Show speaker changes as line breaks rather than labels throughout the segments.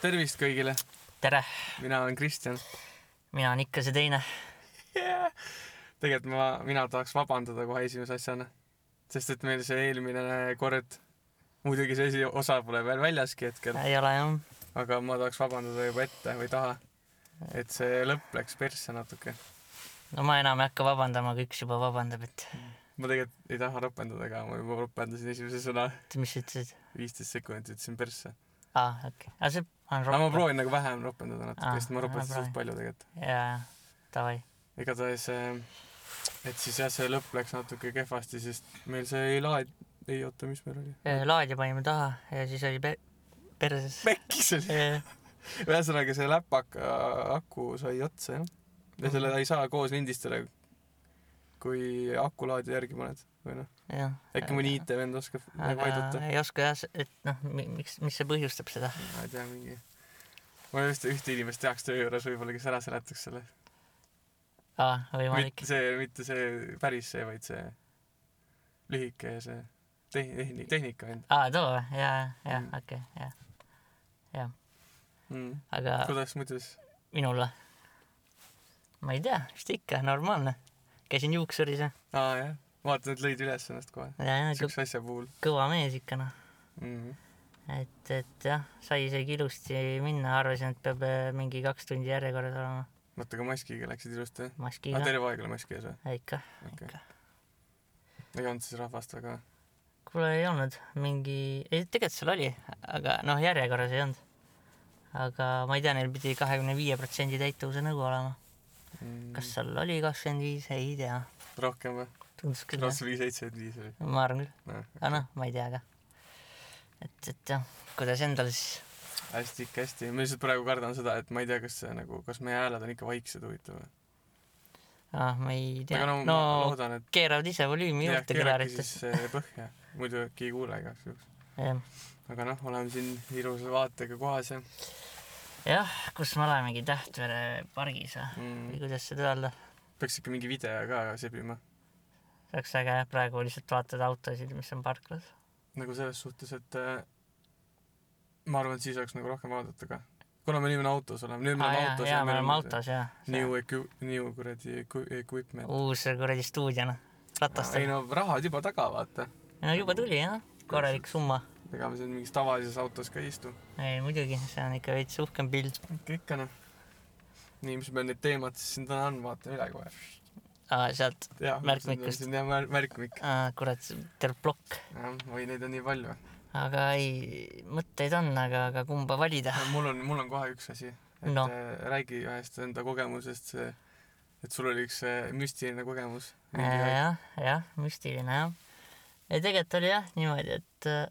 tervist kõigile ,
tere ,
mina olen Kristjan
mina olen ikka see teine .
yeah. . tegelikult ma , mina tahaks vabandada kohe esimese asjana , sest et meil see eelmine kord , muidugi see esiosa pole veel väljaski hetkel ,
ei ole jah ,
aga ma tahaks vabandada juba ette või taha , et see lõpp läks persse natuke .
no ma enam ei hakka vabandama , kui üks juba vabandab , et
ma tegelikult ei taha ropendada ka , ma juba ropendasin esimese sõna ,
oota, mis sa ütlesid ?
viisteist sekundit ütlesin persse .
aa , okei , aga see on
aga ma . proovin nagu vähem ropendada natuke ,
Ah,
sest ma
ära
ropendasin
proovi.
suht palju tegelikult .
jaa , davai ,
igatahes , et siis jah , see lõpp läks natuke kehvasti , sest meil see ei laed- , ei oota , mis meil oli ?
laadija panime taha ja siis oli pe- , perses .
pekkis oli . ühesõnaga see läpaka aku sai otsa jah . ja selle ei saa koos lindistada , kui akulaadija järgi paned või noh ,
jah .
äkki mõni . IT-vend oskab nagu
aga
aidata .
ei oska jah , et noh , miks , mis see põhjustab seda .
ma ei tea , mingi . ma just ühte inimest teaks töö juures võib-olla , kes ära seletaks selle .
aa , Ah, võimalik
mitte . see , mitte see päris see , vaid see lühike ja see tehnik , tehnika vend
aa , Ah, too või ? jaa , jaa
Mm. ,
okei , jah .
mm. .
aga
kuidas muidu siis ?
minul või ? ma ei tea , vist ikka , normaalne . käisin juuksuris ja ,
aa jah , vaata nad lõid üles ennast kohe ,
ja , ja
siukse asja puhul
kõva mees ikka noh .
mm. .
et , et jah , sai isegi ilusti minna , arvasin , et peab eh, mingi kaks tundi järjekorras olema
vaata , aga maskiga läksid ilusti .
maskiga
aga . terve aeg oli mask ees või ?
ikka ,
okei
Ikka.
okay. . ei olnud siis rahvast väga ?
kuule ei olnud mingi , ei tegelikult seal oli , aga noh , järjekorras ei olnud . aga ma ei tea , neil pidi kahekümne viie protsendi täituvuse nõue olema ,
Mm.
kas seal oli kakskümmend viis , ei tea ,
rohkem või ?
tundus küll jah ,
kas oli seitsekümmend viis või ?
ma arvan küll ,
noh ,
aga noh , ma ei tea ka . et , et jah , kuidas endal siis ,
hästi ikka hästi , ma lihtsalt praegu kardan seda , et ma ei tea , kas see nagu , kas meie hääled on ikka vaiksed huvitav või ?
ah ma ei tea
aga , no,
no
no ma loodan , et
keeravad ise volüümi
jah,
juurde
keerake
kõlarites
siis , eh, põhja , muidu äkki ei kuule igaks juhuks .
jah
aga noh , oleme siin ilusa vaatega kohas ja
jah , kus me olemegi Tähtvere pargis või või
mm.
kuidas seda öelda ,
peaks ikka mingi video ka sebima .
see oleks äge jah , praegu lihtsalt vaatad autosid , mis on parklas .
nagu selles suhtes , et äh, ma arvan , et siis oleks nagu rohkem vaadata ka . kuna me nüüd autos oleme , nüüd me
aa
oleme
jaa ,
autos
jaa , Ah, me
meil
oleme
on
autos jaa .
see New equi- , new kuradi equi- equipment .
uus kuradi stuudio noh ,
ei
ratastel .
no rahad juba taga , vaata .
no juba tuli jah , korralik summa .
ega me siin mingis tavalises autos ka ei istu .
ei muidugi , see on ikka veits uhkem pild .
ikka , ikka noh . nii , mis meil need teemad siis siin täna on , vaatame üle kohe .
aa , Ah, sealt ,
jah ,
Märkmikust.
siin jah mär, , märkmik .
aa kurat , terve plokk .
jah , oi neid on nii palju .
Ah. aga ei , mõtteid on , aga , aga kumba valida ?
mul on , mul on kohe üks asi . et no.
Noh.
räägi ühest enda kogemusest , et sul oli üks äh, müstiline kogemus .
jah , jah , müstiline jah . ja tegelikult oli jah niimoodi , et äh,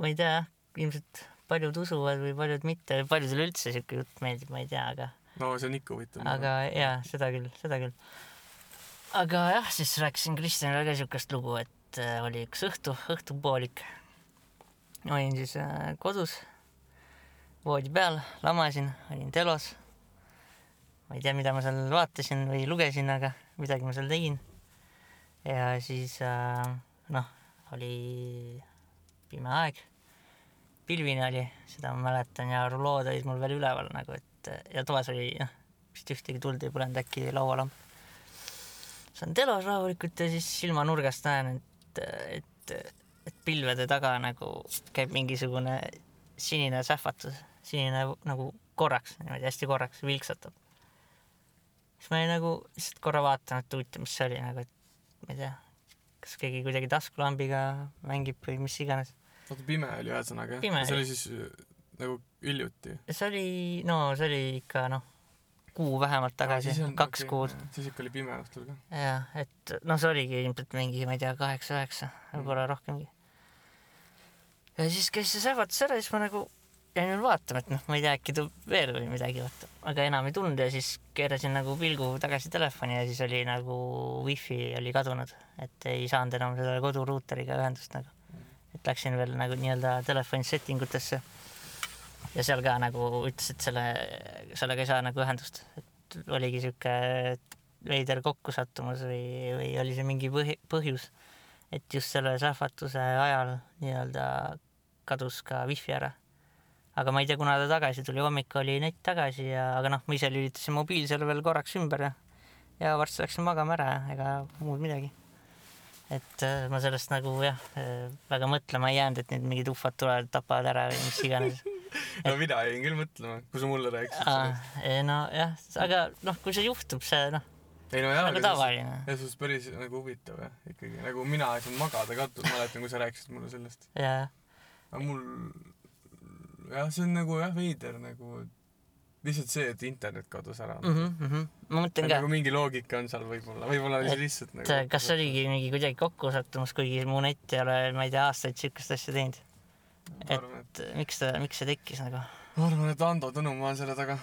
ma ei tea jah , ilmselt paljud usuvad või paljud mitte , paljudele üldse siuke jutt meeldib , ma ei tea , aga ,
no see on ikka huvitav . nagu.
aga ja seda küll , seda küll . aga jah , siis rääkisin Kristjanile ka siukest lugu , et äh, oli üks õhtu , õhtupoolik . olin siis äh, kodus , voodi peal , lamasin , olin telos . ma ei tea , mida ma seal vaatasin või lugesin , aga midagi ma seal tegin . ja siis äh, noh , oli pime aeg , pilvine oli , seda ma mäletan ja rulood olid mul veel üleval nagu , et ja toas oli noh , vist ühtegi tuld ei põlenud , äkki laualamp . saan telos rahulikult ja siis silmanurgast näen , et , et , et pilvede taga nagu käib mingisugune sinine sähvatus , sinine nagu korraks niimoodi hästi korraks vilksatab . siis ma olin nagu lihtsalt korra vaatanud , et huvitav , mis see oli nagu , et ma ei tea , kas keegi kuidagi taskulambiga mängib või mis iganes .
oota , pime oli ühesõnaga jah?
Pime
see oli
oli.
siis äh, nagu hiljuti .
see oli , no see oli ikka noh , kuu vähemalt tagasi , kaks kuud .
siis ikka oli pime õhtul ka .
jah , et noh , see oligi ilmselt mingi , ma ei tea , kaheksa-üheksa , võib-olla rohkemgi . ja siis käis see sähvatus ära , siis ma nagu jäin veel vaatama , et noh , ma ei tea , äkki tuleb veel või midagi , vaata . aga enam ei tulnud ja siis keerasin nagu pilgu tagasi telefoni ja siis oli nagu wifi oli kadunud , et ei saanud enam selle koduruuteriga ühendust nagu . et läksin veel nagu nii-öelda telefoni setting utesse . ja seal ka nagu ütles , et selle , sellega ei saa nagu ühendust , et oligi sihuke veider kokkusattumus või , või oli see mingi põhi , põhjus , et just selle sähvatuse ajal nii-öelda kadus ka wifi ära . aga ma ei tea , kuna ta tagasi tuli , hommik oli net tagasi ja , aga noh , ma ise lülitasin mobiil seal veel korraks ümber ja ja varsti läksin magama ära ja ega muud midagi . et äh, ma sellest nagu jah , väga mõtlema ei jäänud , et nüüd mingid ufod tulevad , tapavad ära või mis iganes
no mina jäin küll mõtlema , kui sa mulle rääkisid
ah,
sellest ..
nojah , aga noh , kui see juhtub , see noh ,
ei no jaa ,
nagu
aga
tavaline
see on päris nagu huvitav jah , ikkagi nagu mina siin magada katus , mäletan , kui sa rääkisid mulle sellest .
ja
aga mul jah , see on nagu jah , veider nagu lihtsalt see , et internet kadus ära mm .
mhmh , mhmh , Mm-hmm, ma mõtlen ka
nagu , mingi loogika on seal võib-olla , võib-olla oli see lihtsalt
et
nagu
äh, kas see oligi mingi kuidagi kokkusattumus , kuigi mu net ei ole , ma ei tea , aastaid siukest asja teinud .
ma arvan , et
et miks ta , miks see tekkis nagu ?
ma arvan , et Ando Tõnumaa on selle taga .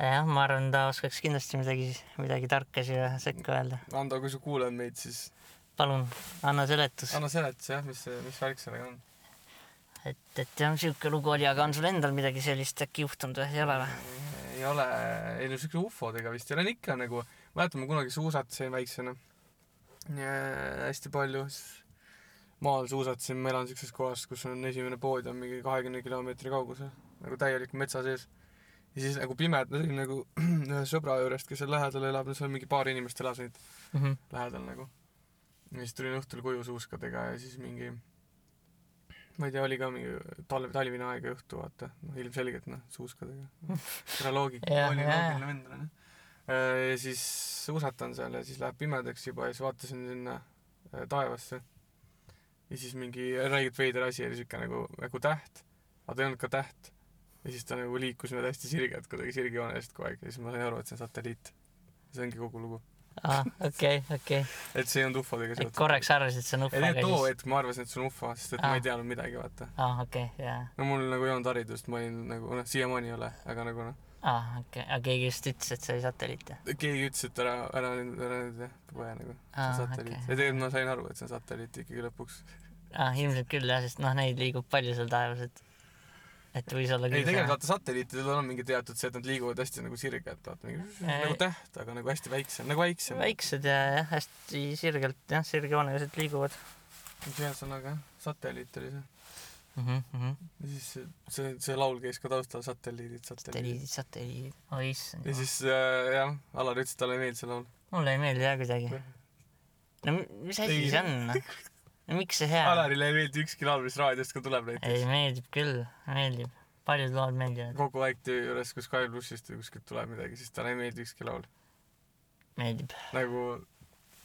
jah , ma arvan , ta oskaks kindlasti midagi , midagi tarka siia sekka öelda .
Ando , kui sa kuuled meid , siis
palun , anna seletus .
anna seletuse jah , mis see , mis värk sellega on .
et , et jah , siuke lugu oli , aga on sul endal midagi sellist äkki juhtunud või ei ole või ?
ei ole , ei no siukse ufodega vist ei ole , ikka nagu , mäletan ma kunagi suusatasin väiksena . hästi palju , siis maal suusatasin , ma elan siukses kohas , kus on esimene pood on mingi kahekümne kilomeetri kaugusel , nagu täielik metsa sees . ja siis nagu pime , et ma tulin nagu ühe sõbra juurest , kes seal lähedal elab , no seal mingi paar inimest elas neid lähedal nagu . ja siis tulin õhtul koju suuskadega ja siis mingi , ma ei tea , oli ka mingi talv , talvine aeg ja õhtu , vaata , noh ilmselgelt noh , suuskadega . seda loogika ,
Jah,
oli
jah.
loogiline vend , onju . ja siis suusatan seal ja siis läheb pimedaks juba ja siis vaatasin sinna äh, taevasse . ja siis mingi räigelt veider asi oli siuke nagu , nagu täht , aga ta ei olnud ka täht . ja siis ta nagu liikus mööda hästi sirgelt , kuidagi sirgjoonelised kogu aeg ja siis ma sain aru , et see on satelliit . see ongi kogu lugu .
aa , Ah, okei , okei .
et see ei olnud ufodega seotud .
korraks arvasid , et see on
ei
ufo ,
tegelikult
aga
too
siis .
hetk ma arvasin , et see on ufo , sest et ah.
Aa.
ma ei teadnud midagi , vaata .
aa , okei , jaa .
no mul nagu ei olnud haridust , ma olin nagu noh , siiamaani ei ole , aga nagu noh ,
aa , Ah, okei , aga keegi just ütles , et see oli satelliit , jah ?
keegi ütles , et ära , ära nüüd , ära nüüd jah , põe nagu . see
Aa,
on satelliit okay. .
Ah, okei.
ja tegelikult ma sain aru , et see on satelliit ikkagi lõpuks .
ah, . ilmselt küll jah , sest noh , neid liigub palju seal taevas , et , et võis olla
ei ,
küll
tegelikult . vaata satelliitidel on mingi teatud see , et nad liiguvad hästi nagu sirgelt , vaata mingi
Ei.
nagu täht , aga nagu hästi väiksem , nagu väiksem .
väiksed ja jah , hästi sirgelt jah , sirgjooneliselt liiguvad
ühesõnaga jah , satelliit oli see .
mm .
Mhm,
-hmm, mm -hmm.
ja siis see, see , see laul käis ka taustal , satelliidid , satelliidid .
satelliidid , satelliidid , oi Oh, issand
ja . siis äh, jah , Alar ütles , et talle ei meeldi see laul .
mulle ei meeldi jah kuidagi . no mi- mis asi
Ei.
see on no? ? no miks see hea on ?
Alarile ei meeldi ükski laul , mis raadiost ka tuleb näiteks .
ei meeldib küll , meeldib . paljud lood meeldivad .
kogu aeg töö juures , kui Sky plussist või kuskilt tuleb midagi , siis talle ei meeldi ükski laul .
meeldib .
nagu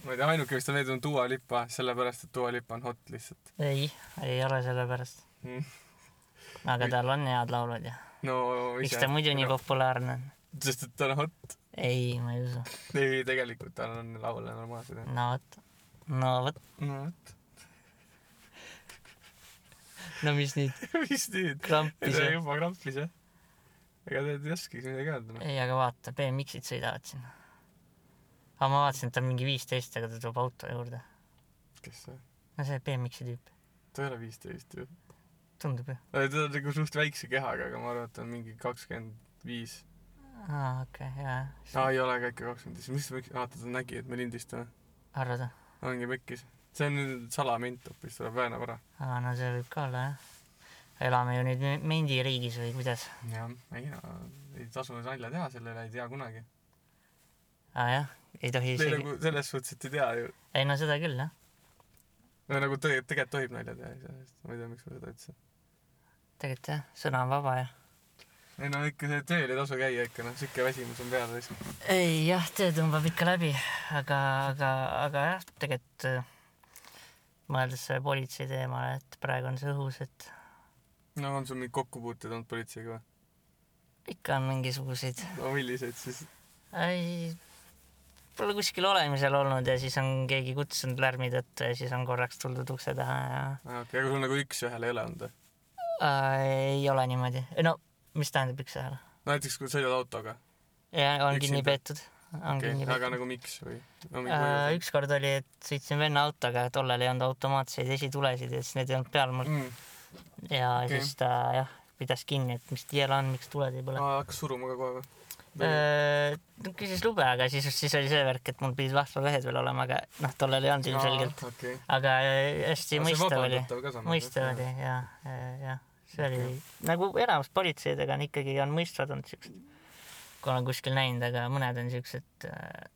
ma ei tea , ainuke , mis talle meeldib , on Dua Lipa , sellepärast et Dua Lipa on hot lihtsalt .
ei , ei ole sellepärast .
Mhm.
aga tal on head laulud ja .
no
miks ta muidu nii
no,
populaarne on ?
sest et ta on hot .
ei , ma ei usu .
ei , tegelikult tal on laule normaalsed jah .
no vot , no vot ,
no vot ,
no mis nüüd ,
mis nüüd ?
krampis
ta
või ?
juba krampis jah . ega ta ei oskagi midagi öelda noh .
ei , aga vaata , BMX-id sõidavad siin . aga ma vaatasin , et ta on mingi viisteist , aga ta tuleb auto juurde .
kes see ,
no see BMX-i tüüp ,
ta ei ole viisteist ju .
tundub ju .
ta on nagu suht väikse kehaga , aga ma arvan , et ta on mingi kakskümmend viis .
aa , Ah, okei okay, , jaa
aa , ei ole ka ikka kakskümmend viis , mis , vaata ta nägi , et me lindistame .
arvad või ?
ongi pekkis . see on nüüd salament hoopis , tuleb väänab ära .
aa , Ah, no see võib ka olla jah . elame ju nüüd me- mendiriigis või kuidas ?
jah , ei no , ei tasu nalja teha selle üle , ei tea kunagi .
aa Ah, jah , ei tohi
ei
isegi ,
nagu selles suhtes , et ei tea ju .
ei no seda küll jah .
no nagu tõ- tegelikult tohib nalja teha iseenesest , ma ei tea , miks ma seda ütlesin .
tegelikult jah , sõna on vaba ja .
ei no ikka see tööl ei tasu käia ikka noh , siuke väsimus on peal lihtsalt .
ei jah , töö tõmbab ikka läbi , aga , aga , aga jah , tegelikult äh, mõeldes selle politsei teemale , et praegu on see õhus , et
no on sul mingeid kokkupuuteid olnud politseiga või ?
ikka on mingisuguseid
no milliseid siis ?
ei , pole kuskil olemisel olnud ja siis on keegi kutsunud lärmi tõttu ja siis on korraks tuldud ukse taha ja
aa okei okay, , aga sul nagu üks-ühele ei ole olnud või ?
äh, ei ole niimoodi . no mis tähendab ükshääl ?
näiteks kui sõidad autoga .
ja on
Üksinda?
kinni peetud , on
okei
kinni
okay, , aga
peetud .
nagu miks või ? no mingi
Äh,
põhjus .
ükskord oli , et sõitsin venna autoga , tollal ei olnud automaatseid esitulesid ja siis need ei olnud peal mul
Mm.
ja
Okei.
okay. siis ta jah , pidas kinni , et mis tiiel on , miks tuled ei põle .
aa , hakkas suruma ka kohe või ?
Äh, küsis lube , aga siis , siis oli see värk , et mul pidid vahtvalehed veel olema , aga noh , tollal ei olnud ilmselgelt .
Ah, okei okay. . nagu
aga hästi mõistav äh, oli ,
mõistavad
mõistav oli ja , ja , see oli nagu enamus politseidega on ikkagi on mõistvad olnud siuksed , kui olen kuskil näinud , aga mõned on siuksed äh,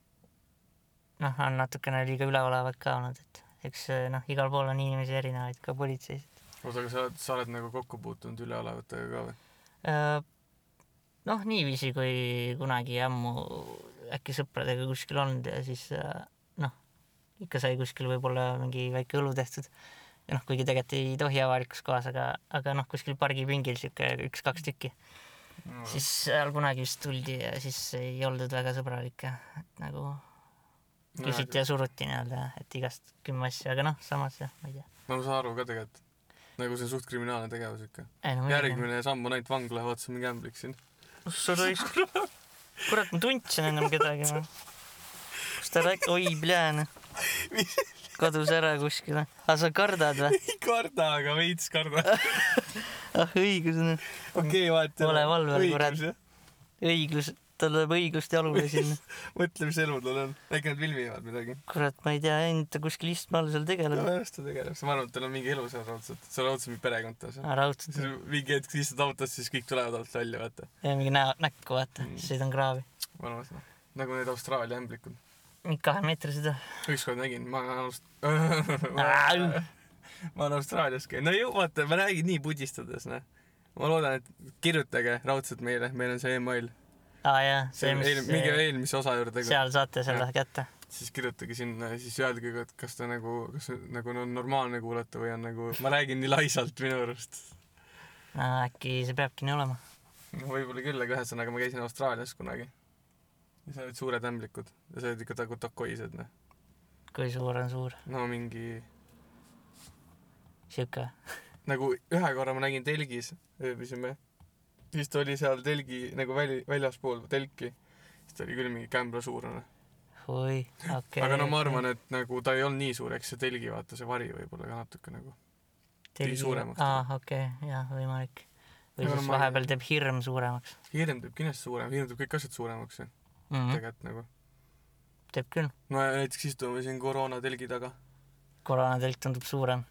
noh , on natukene liiga üleolevad ka olnud , et eks äh, noh , igal pool on inimesi erinevaid ka politseis .
oota , aga sa oled , sa oled nagu kokku puutunud üleolevatega ka või ?
Äh, noh , niiviisi kui kunagi ammu äkki sõpradega kuskil olnud ja siis äh, noh , ikka sai kuskil võib-olla mingi väike õlu tehtud . ja noh , kuigi tegelikult ei tohi avalikus kohas , aga , aga noh , kuskil pargipingil sihuke üks-kaks tükki , siis seal kunagi vist tuldi ja siis ei oldud väga sõbralik ja et nagu
nagu-
küsiti ja suruti nii-öelda , et igast kümme asja , aga noh , samas jah , ma ei tea .
no ma saan aru ka tegelikult . nagu see on suht kriminaalne tegevus ikka .
ei no muidugi ,
järgmine samm on ainult vangla , vaatasin mingi ämblik siin .
sa raisk- , kurat , ma tundsin ennem kedagi , noh . kus ta rääkis , oi , pljääne . kadus ära kuskile . aga sa kardad või ?
ei karda , aga veits karda .
ah , õigus on ,
okei , vahet
Ole valvel, kurat. . õiglus , tal läheb õiglust jalule sinna .
mõtle , mis elu tal on . äkki nad vilvivad midagi .
kurat , ma ei tea , ainult ta kuskil istme all seal
no
tegeleb .
ennast ta tegeleb , ma arvan , et tal on mingi elu seal raudselt , seal raudselt mingi perekond tal
Ah.
seal .
raudselt ,
mingi hetk sa istud autos , siis kõik tulevad alt välja , vaata .
mingi näo , näkku vaata
Mm. ,
sõidan kraavi .
vanas noh , nagu need Austraalia ämblikud .
mingi kahemeetrised
ükskord nägin , ma olen Aust-
või ?
ma olen Austraalias käinud , no ju vaata , ma räägin nii pudistades , noh . ma loodan , et kirjutage raudselt meile , meil on see email ,
aa Ah, jaa ,
see
see
on eel, mingi
mis
eelmise osa juurde ,
seal saate selle kätte .
siis kirjutage sinna ja siis öelge ka , et kas ta nagu , kas see nagu on normaalne kuulata või on nagu , ma räägin nii laisalt minu arust .
Ah, äkki see peabki nii olema .
no võib-olla küll , aga ühesõnaga ma käisin Austraalias kunagi . ja seal olid suured ämblikud ja see olid ikka nagu takoised , noh .
kui suur on suur ,
no mingi
sihuke .
nagu ühe korra ma nägin telgis , ööbisime , siis ta oli seal telgi nagu väli , väljaspool telki , siis ta oli küll mingi kämbla suurune okay. .
oi , okei .
aga no ma arvan , et nagu ta ei olnud nii suur , eks see telgi , vaata see vari võib-olla ka natuke nagu . tegi suuremaks.
aa , okei okay, , jah , võimalik . või
Aga
siis
ma ei-
vahepeal teeb hirm suuremaks
hirm teeb kindlasti suurem , hirm teeb kõik asjad suuremaks ju mm.
mm . -hmm.
tegelikult nagu .
teeb küll .
no ja näiteks istume siin koroona telgi taga .
koroonatelk tundub suurem .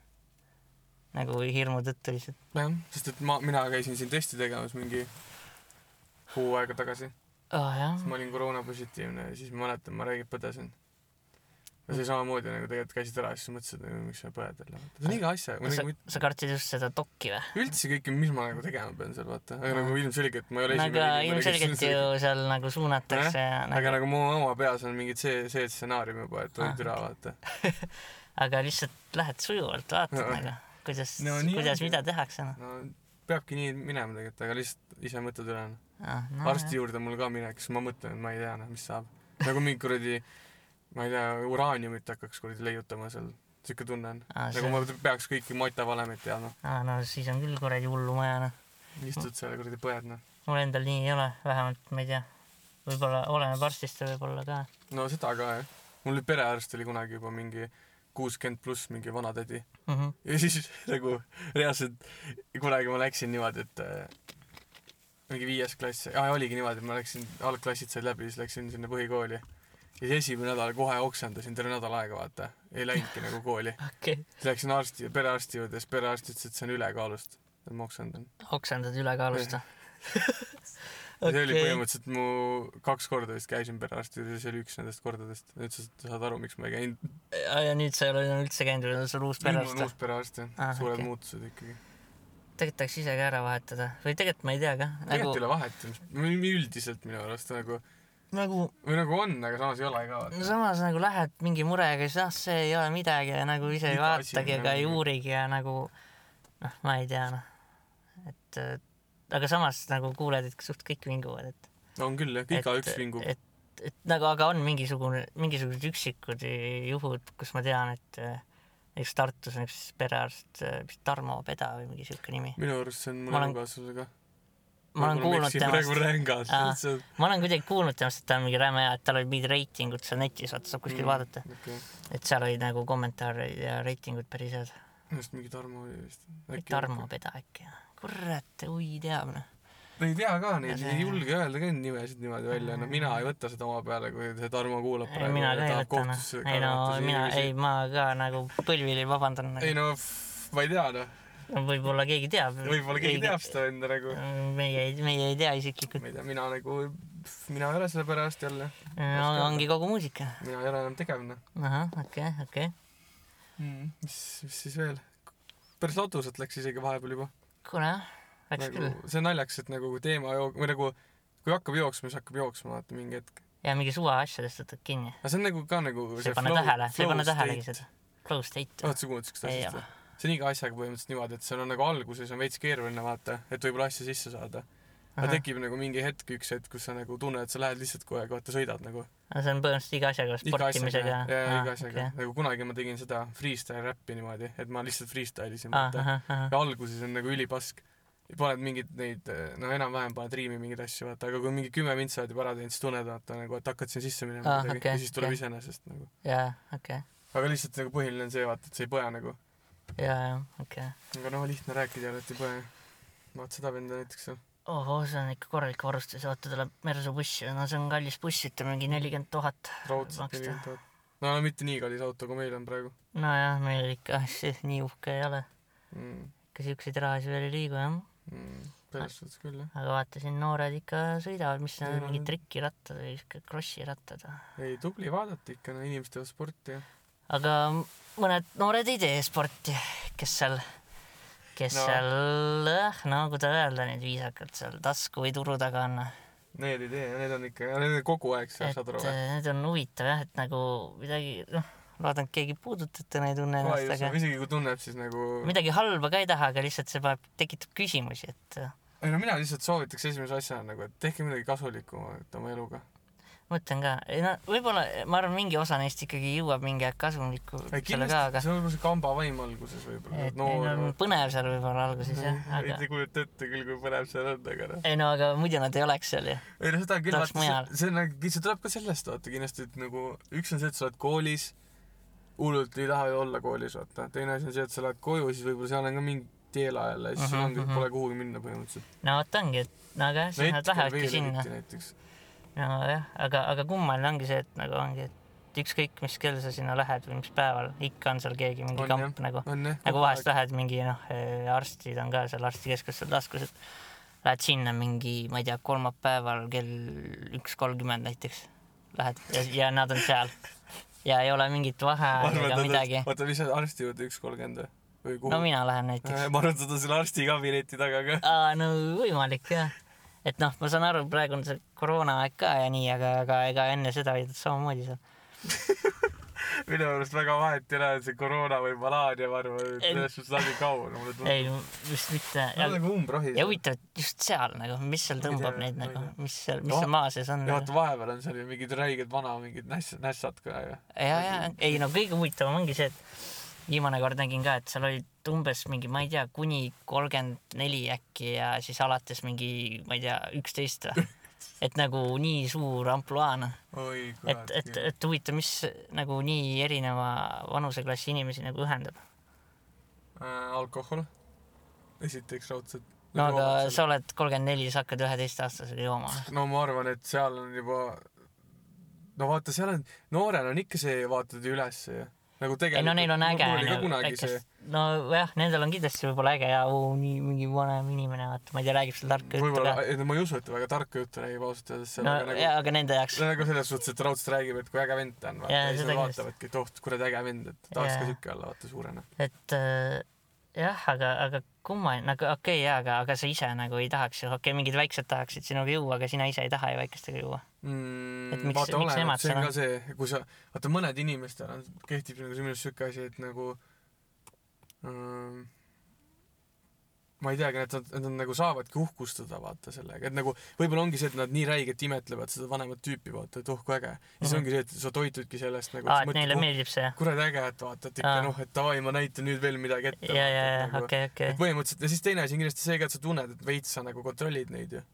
nagu hirmu tõttu lihtsalt .
jah , sest et ma , mina käisin siin testi tegemas mingi kuu aega tagasi ,
aa
Ah,
oh, jah
siis , ma olin koroonapositiivne ja siis ma mäletan , ma räägin , põdesin . ja see samamoodi nagu tegelikult käisid ära ja siis mõtlesin , et miks sa põed jälle . see on iga asjaga ,
sa
nagu ,
sa kartsid just seda dokki või ?
üldse kõike , mis ma nagu tegema pean seal vaata , aga nagu ilmselgelt ma ei ole
aga
esimene
nagu ilmselgelt ju . seal nagu suunatakse ja
aga
nagu ,
nagu mu oma peas on mingid see , see stsenaarium juba , et oi
Ah.
türa vaata .
aga lihtsalt lähed sujuvalt , vaatad
Jaa.
nagu , kuidas
No
no, ,
nii
kuidas ,
ongi.
mida tehakse noh .
no peabki nii minema tegelikult , aga lihtsalt ise mõtled üle .
Ah, No,
arsti juurde mul ka minek , siis ma mõtlen , et ma ei tea noh , mis saab . nagu mingi kuradi , ma ei tea , uraaniumit hakkaks kuradi leiutama seal , siuke tunne on .
aa , Ah, see
nagu , ma peaks kõiki matavalemit teadma .
aa no siis on küll kuradi hullumaja noh .
istud seal ja kuradi põed noh .
mul endal nii ei ole , vähemalt ma ei tea . võib-olla oleneb arstist ja võib-olla ka
no seda ka jah . mul oli perearst oli kunagi juba mingi kuuskümmend pluss mingi vanatädi
mm . -hmm.
ja siis nagu reaalselt kunagi ma läksin niimoodi , et äh, mingi viies klass , aa oligi niimoodi , et ma läksin , algklassid said läbi , siis läksin sinna põhikooli . ja siis esimene nädal kohe oksendasin terve nädal aega , vaata , ei läinudki nagu kooli .
okei okay. .
siis läksin arsti , perearsti juurde , siis perearst ütles , et see on ülekaalust , et ma oksendan .
oksendad ülekaalust või ?
ja see oli
Okei.
põhimõtteliselt mu kaks korda vist käisin perearsti juures ja see oli üks nendest kordadest . ta ütles , et sa saad aru , miks ma ei käinud .
ja nüüd sa ei ole enam üldse käinud , nüüd on sul uus
nüüd ma
perearst
olen
või
uus ? perearst ja
Ah,
suured
okei.
muutused ikkagi .
tegelikult tahaks ise ka ära vahetada või tegelikult ma ei tea ka nagu
tegelikult ei , ole vahet ju , mis üldiselt minu arust nagu
nagu
või nagu on , aga samas ei ole ka
no
vaata .
samas nagu lähed mingi murega , siis ah , see ei ole midagi ja nagu ise ei
Iga asi on
vaatagi ega ei
nagu-
uurigi ja nagu noh , ma ei tea noh , et äh, aga samas nagu kuuled , et suht kõik vinguvad , et
on küll jah , igaüks
et-
vingub .
et , et nagu , aga on mingisugune , mingisugused üksikud juhud , kus ma tean , et äh, näiteks Tartus on üks perearst , vist Tarmo Peda või mingi siuke nimi .
minu arust see on mul
ma olen-
elukaaslasega .
ma olen kuulnud
praegu
temast ,
rängad
Aa, .
saad
ma olen kuidagi kuulnud temast , et ta on mingi räme hea , et tal olid mingid reitingud seal netis , vaata saab kuskil mm. vaadata ,
okei ,
et seal olid nagu kommentaare ja reitingud päris head .
just mingi Tarmo oli vist .
Tarmo . Peda äkki , kurat , ui teab noh .
ei tea ka neid ,
Ja
ei
see- Äh.
julge öelda ka neid nimesid niimoodi välja , no mina ei võta seda oma peale , kui see Tarmo kuulab
ei mina ka ei võta noh , ei no mina , ei . ma ka nagu põlvili vabandan
ei
nagu. ,
no pff, ma ei tea noh ,
no võib-olla keegi teab .
võib-olla keegi teab . seda enda nagu ,
meie ei , meie ei tea isiklikult .
ma ei tea , mina nagu , mina ei ole selle pärast jälle ,
ongi kogu muusika .
mina ei ole enam tegevne
ahah , okei , okei .
mm. . mis , mis siis veel ? päris lotuselt läks isegi vahepeal juba .
kuule jah , läks
nagu
küll .
see on naljakas , et nagu kui teema jook- , või nagu kui hakkab jooksma , siis hakkab jooksma , vaata mingi hetk .
ja mingi suva asjadest võtad kinni .
aga see on nagu ka nagu .
sa ei pane tähele , sa ei pane tähelegi seda . Flow state .
oled sa kuulnud siukest
Ei
asja
ole.
või ? see on iga asjaga põhimõtteliselt niimoodi , et seal on nagu alguses on veits keeruline vaata , et võib-olla asja sisse saada . aga tekib nagu mingi hetk , üks hetk , kus sa nagu tunned , et sa lähed lihtsalt kogu aeg , vaata sõidad nagu .
aga see on põhimõtteliselt iga
iga
asjaga ,
asjaga ,
sportimisega .
jaa , iga asjaga . nagu kunagi ma tegin seda freestyle räppi niimoodi , et ma lihtsalt freestyle isin ,
Ah,
vaata .
okei .
ja alguses on nagu ülipask . paned mingeid neid , noh , enam-vähem paned riimi mingeid asju , vaata , aga kui mingi kümme vint sa oled juba ära teinud , siis tunned , vaata nagu , et hakkad sinna sisse minema
Ah,
ah, midagi
okei,
okay, ja siis tuleb
okei.
okay. iseenesest nagu .
jaa , okei .
aga lihtsalt nagu põhiline on see , vaata , et sa ei põe nagu .
jaa , jaa , okei .
aga noh , lihtne rääkida ei ole , et ei põe . vaat seda venda näiteks seal .
ohoo , see on ikka korralik varustus , vaata tuleb mersubuss ja no see on kallis buss , ütleme mingi nelikümmend tuhat
raudselt
maksta.
nelikümmend tuhat . no, no mitte nii kallis auto , kui meil on praegu
nojah , meil ikka see nii uhke ei ole ,
mm, .
ikka siukseid rahasid veel ei liigu jah ,
Mm,
Ah.
selles suhtes küll jah .
aga vaatasin , noored ikka sõidavad , mis need
Ei,
on ,
no
mingid
need-
trikirattad või siuke krossirattad või ?
ei , tubli vaadata ikka , no inimesed teevad sporti ja .
aga mõned noored ei tee sporti , kes seal , kes
No.
no. seal , no kuidas öelda nüüd viisakalt , seal tasku või turu taga on .
Need ei tee , need on ikka , need on kogu aeg seal ,
et
saad aru
eh,
või ?
need on huvitav jah , et nagu midagi , noh , loodan , et keegi ei puuduta , et täna ei tunne ennast , aga
isegi kui tunneb , siis nagu
midagi halba ka ei taha , aga lihtsalt see paneb , tekitab küsimusi , et eh,
ei no mina lihtsalt soovitaks esimese asjana nagu , et tehke midagi kasulikumat oma eluga .
mõtlen ka , ei no võib-olla ma arvan , mingi osa neist ikkagi jõuab mingi aeg kasumlikku selle ka ,
kindlasti ,
aga
see on võib-olla see kamba vaim alguses võib-olla ,
et
et
neil on
noor .
põnev seal võib-olla alguses jah ,
ei
aga
te kujuta ette küll , kui põnev seal on , aga noh .
ei no aga muidu nad ei oleks seal ju .
ei no seda küll ,
Tahaks
vaata
mujal. ,
see on , see tuleb ka sellest vaata kindlasti , et nagu üks on see , et sa oled koolis , hullult ei taha ju olla koolis , vaata . teine asi on see , et sa lähed koju , siis võib-olla seal on ka mingi teela jälle , siis sul
Mhm,
ongi ,
mhm.
pole kuhugi minna põhimõtteliselt .
no vot ongi , et no aga jah , siis nad lähevadki sinna .
näiteks .
nojah , aga , aga kummaline ongi see , et nagu ongi , et ükskõik mis kell sa sinna lähed või mis päeval , ikka on seal keegi mingi
On,
on, kamp nagu .
on jah .
nagu vahest lähed mingi noh , arstid on ka seal arstikeskus seal taskus , et lähed sinna mingi , ma ei tea , kolmapäeval kell üks kolmkümmend näiteks lähed ja, ja nad on seal ja ei ole mingit vaheaega ega midagi .
oota , mis sa arsti juurde üks kolmkümmend või kuhu
no ? mina lähen näiteks .
ma arvan , et ta on selle arstikabineti taga ka .
aa , no võimalik jah . et noh , ma saan aru , praegu on see koroonaaeg ka ja nii , aga , aga ega enne seda olid nad samamoodi seal .
minu arust väga vahet ei ole , et see koroona või malaaria , ma arvan , et
Ei.
selles suhtes nad ei kao , mulle tundub .
ei , just mitte .
Nad on nagu umbrohis .
ja huvitav , et just seal nagu , mis seal
ei
tõmbab
tea,
neid
ma ei
nagu
tea. ,
mis seal , mis
No,
seal maa sees on .
ja vaata vahepeal on seal ju mingid räiged vana mingid näss- , nässad ka ju .
ja , ja ei no kõige huvitavam ongi see , et viimane kord nägin ka , et seal olid umbes mingi , ma ei tea , kuni kolmkümmend neli äkki ja siis alates mingi , ma ei tea , üksteist või ? et nagu nii suur ampluaa noh ,
oi
et , et ,
kurat .
et huvitav , mis nagu nii erineva vanuseklassi inimesi nagu ühendab .
Äh, alkohol , esiteks raudselt .
no aga sa oled kolmkümmend neli , sa hakkad üheteistaastasega jooma .
no ma arvan , et seal on juba , no vaata , seal on , noorena on ikka see , vaatad ju ülesse ju . nagu
ei no neil on äge
mul oli ka
onju ,
kunagi see
väikest , nojah , nendel on kindlasti võib-olla äge ja oo, nii mingi vanem inimene , vaata , ma ei tea , räägib seal tarka juttu
võib-olla
ka .,
ma ei usu , et ta väga tarka juttu räägib ausalt öeldes seal ,
no
aga nagu
jaa , aga nende jaoks
see on nagu selles suhtes , et raudselt räägib , et kui äge vend ta on , vaata ,
Jaa,
ja siis
seda
nad
kindlasti.
vaatavadki , et oh , kuradi äge vend , et tahaks
Jaa.
ka siuke olla , vaata suurena .
et äh, jah , aga , aga kummaline , nagu okei okay, jaa , aga , aga sa ise nagu ei tahaks ju , okei okay, , mingid väiksed tahaksid sinuga juua , aga sina ise ei taha ju väikestega juua . Et miks-
Mm, vaata
miks
oleneb ,
nemad
see on
seda-
ka see , kui sa , vaata mõned inimestel on , kehtib nagu see minu arust siuke asi , et nagu ähm, ma ei teagi , et nad , nad on nagu saavadki uhkustada vaata sellega , et nagu võib-olla ongi see , et nad nii räigelt imetlevad seda vanemat tüüpi , vaata , et oh kui äge . ja siis
Mhm.
ongi see , et sa toitudki sellest nagu .
aa , et neile meeldib see jah ?
kuradi äge , et vaata , et ikka
Aa.
noh , et davai , ma näitan nüüd veel midagi ette .
ja , ja , ja okei , okei
et . nagu- põhimõtteliselt ja siis teine asi on kindlasti see ka , et sa tunned , et veits sa nagu kontrollid neid ju .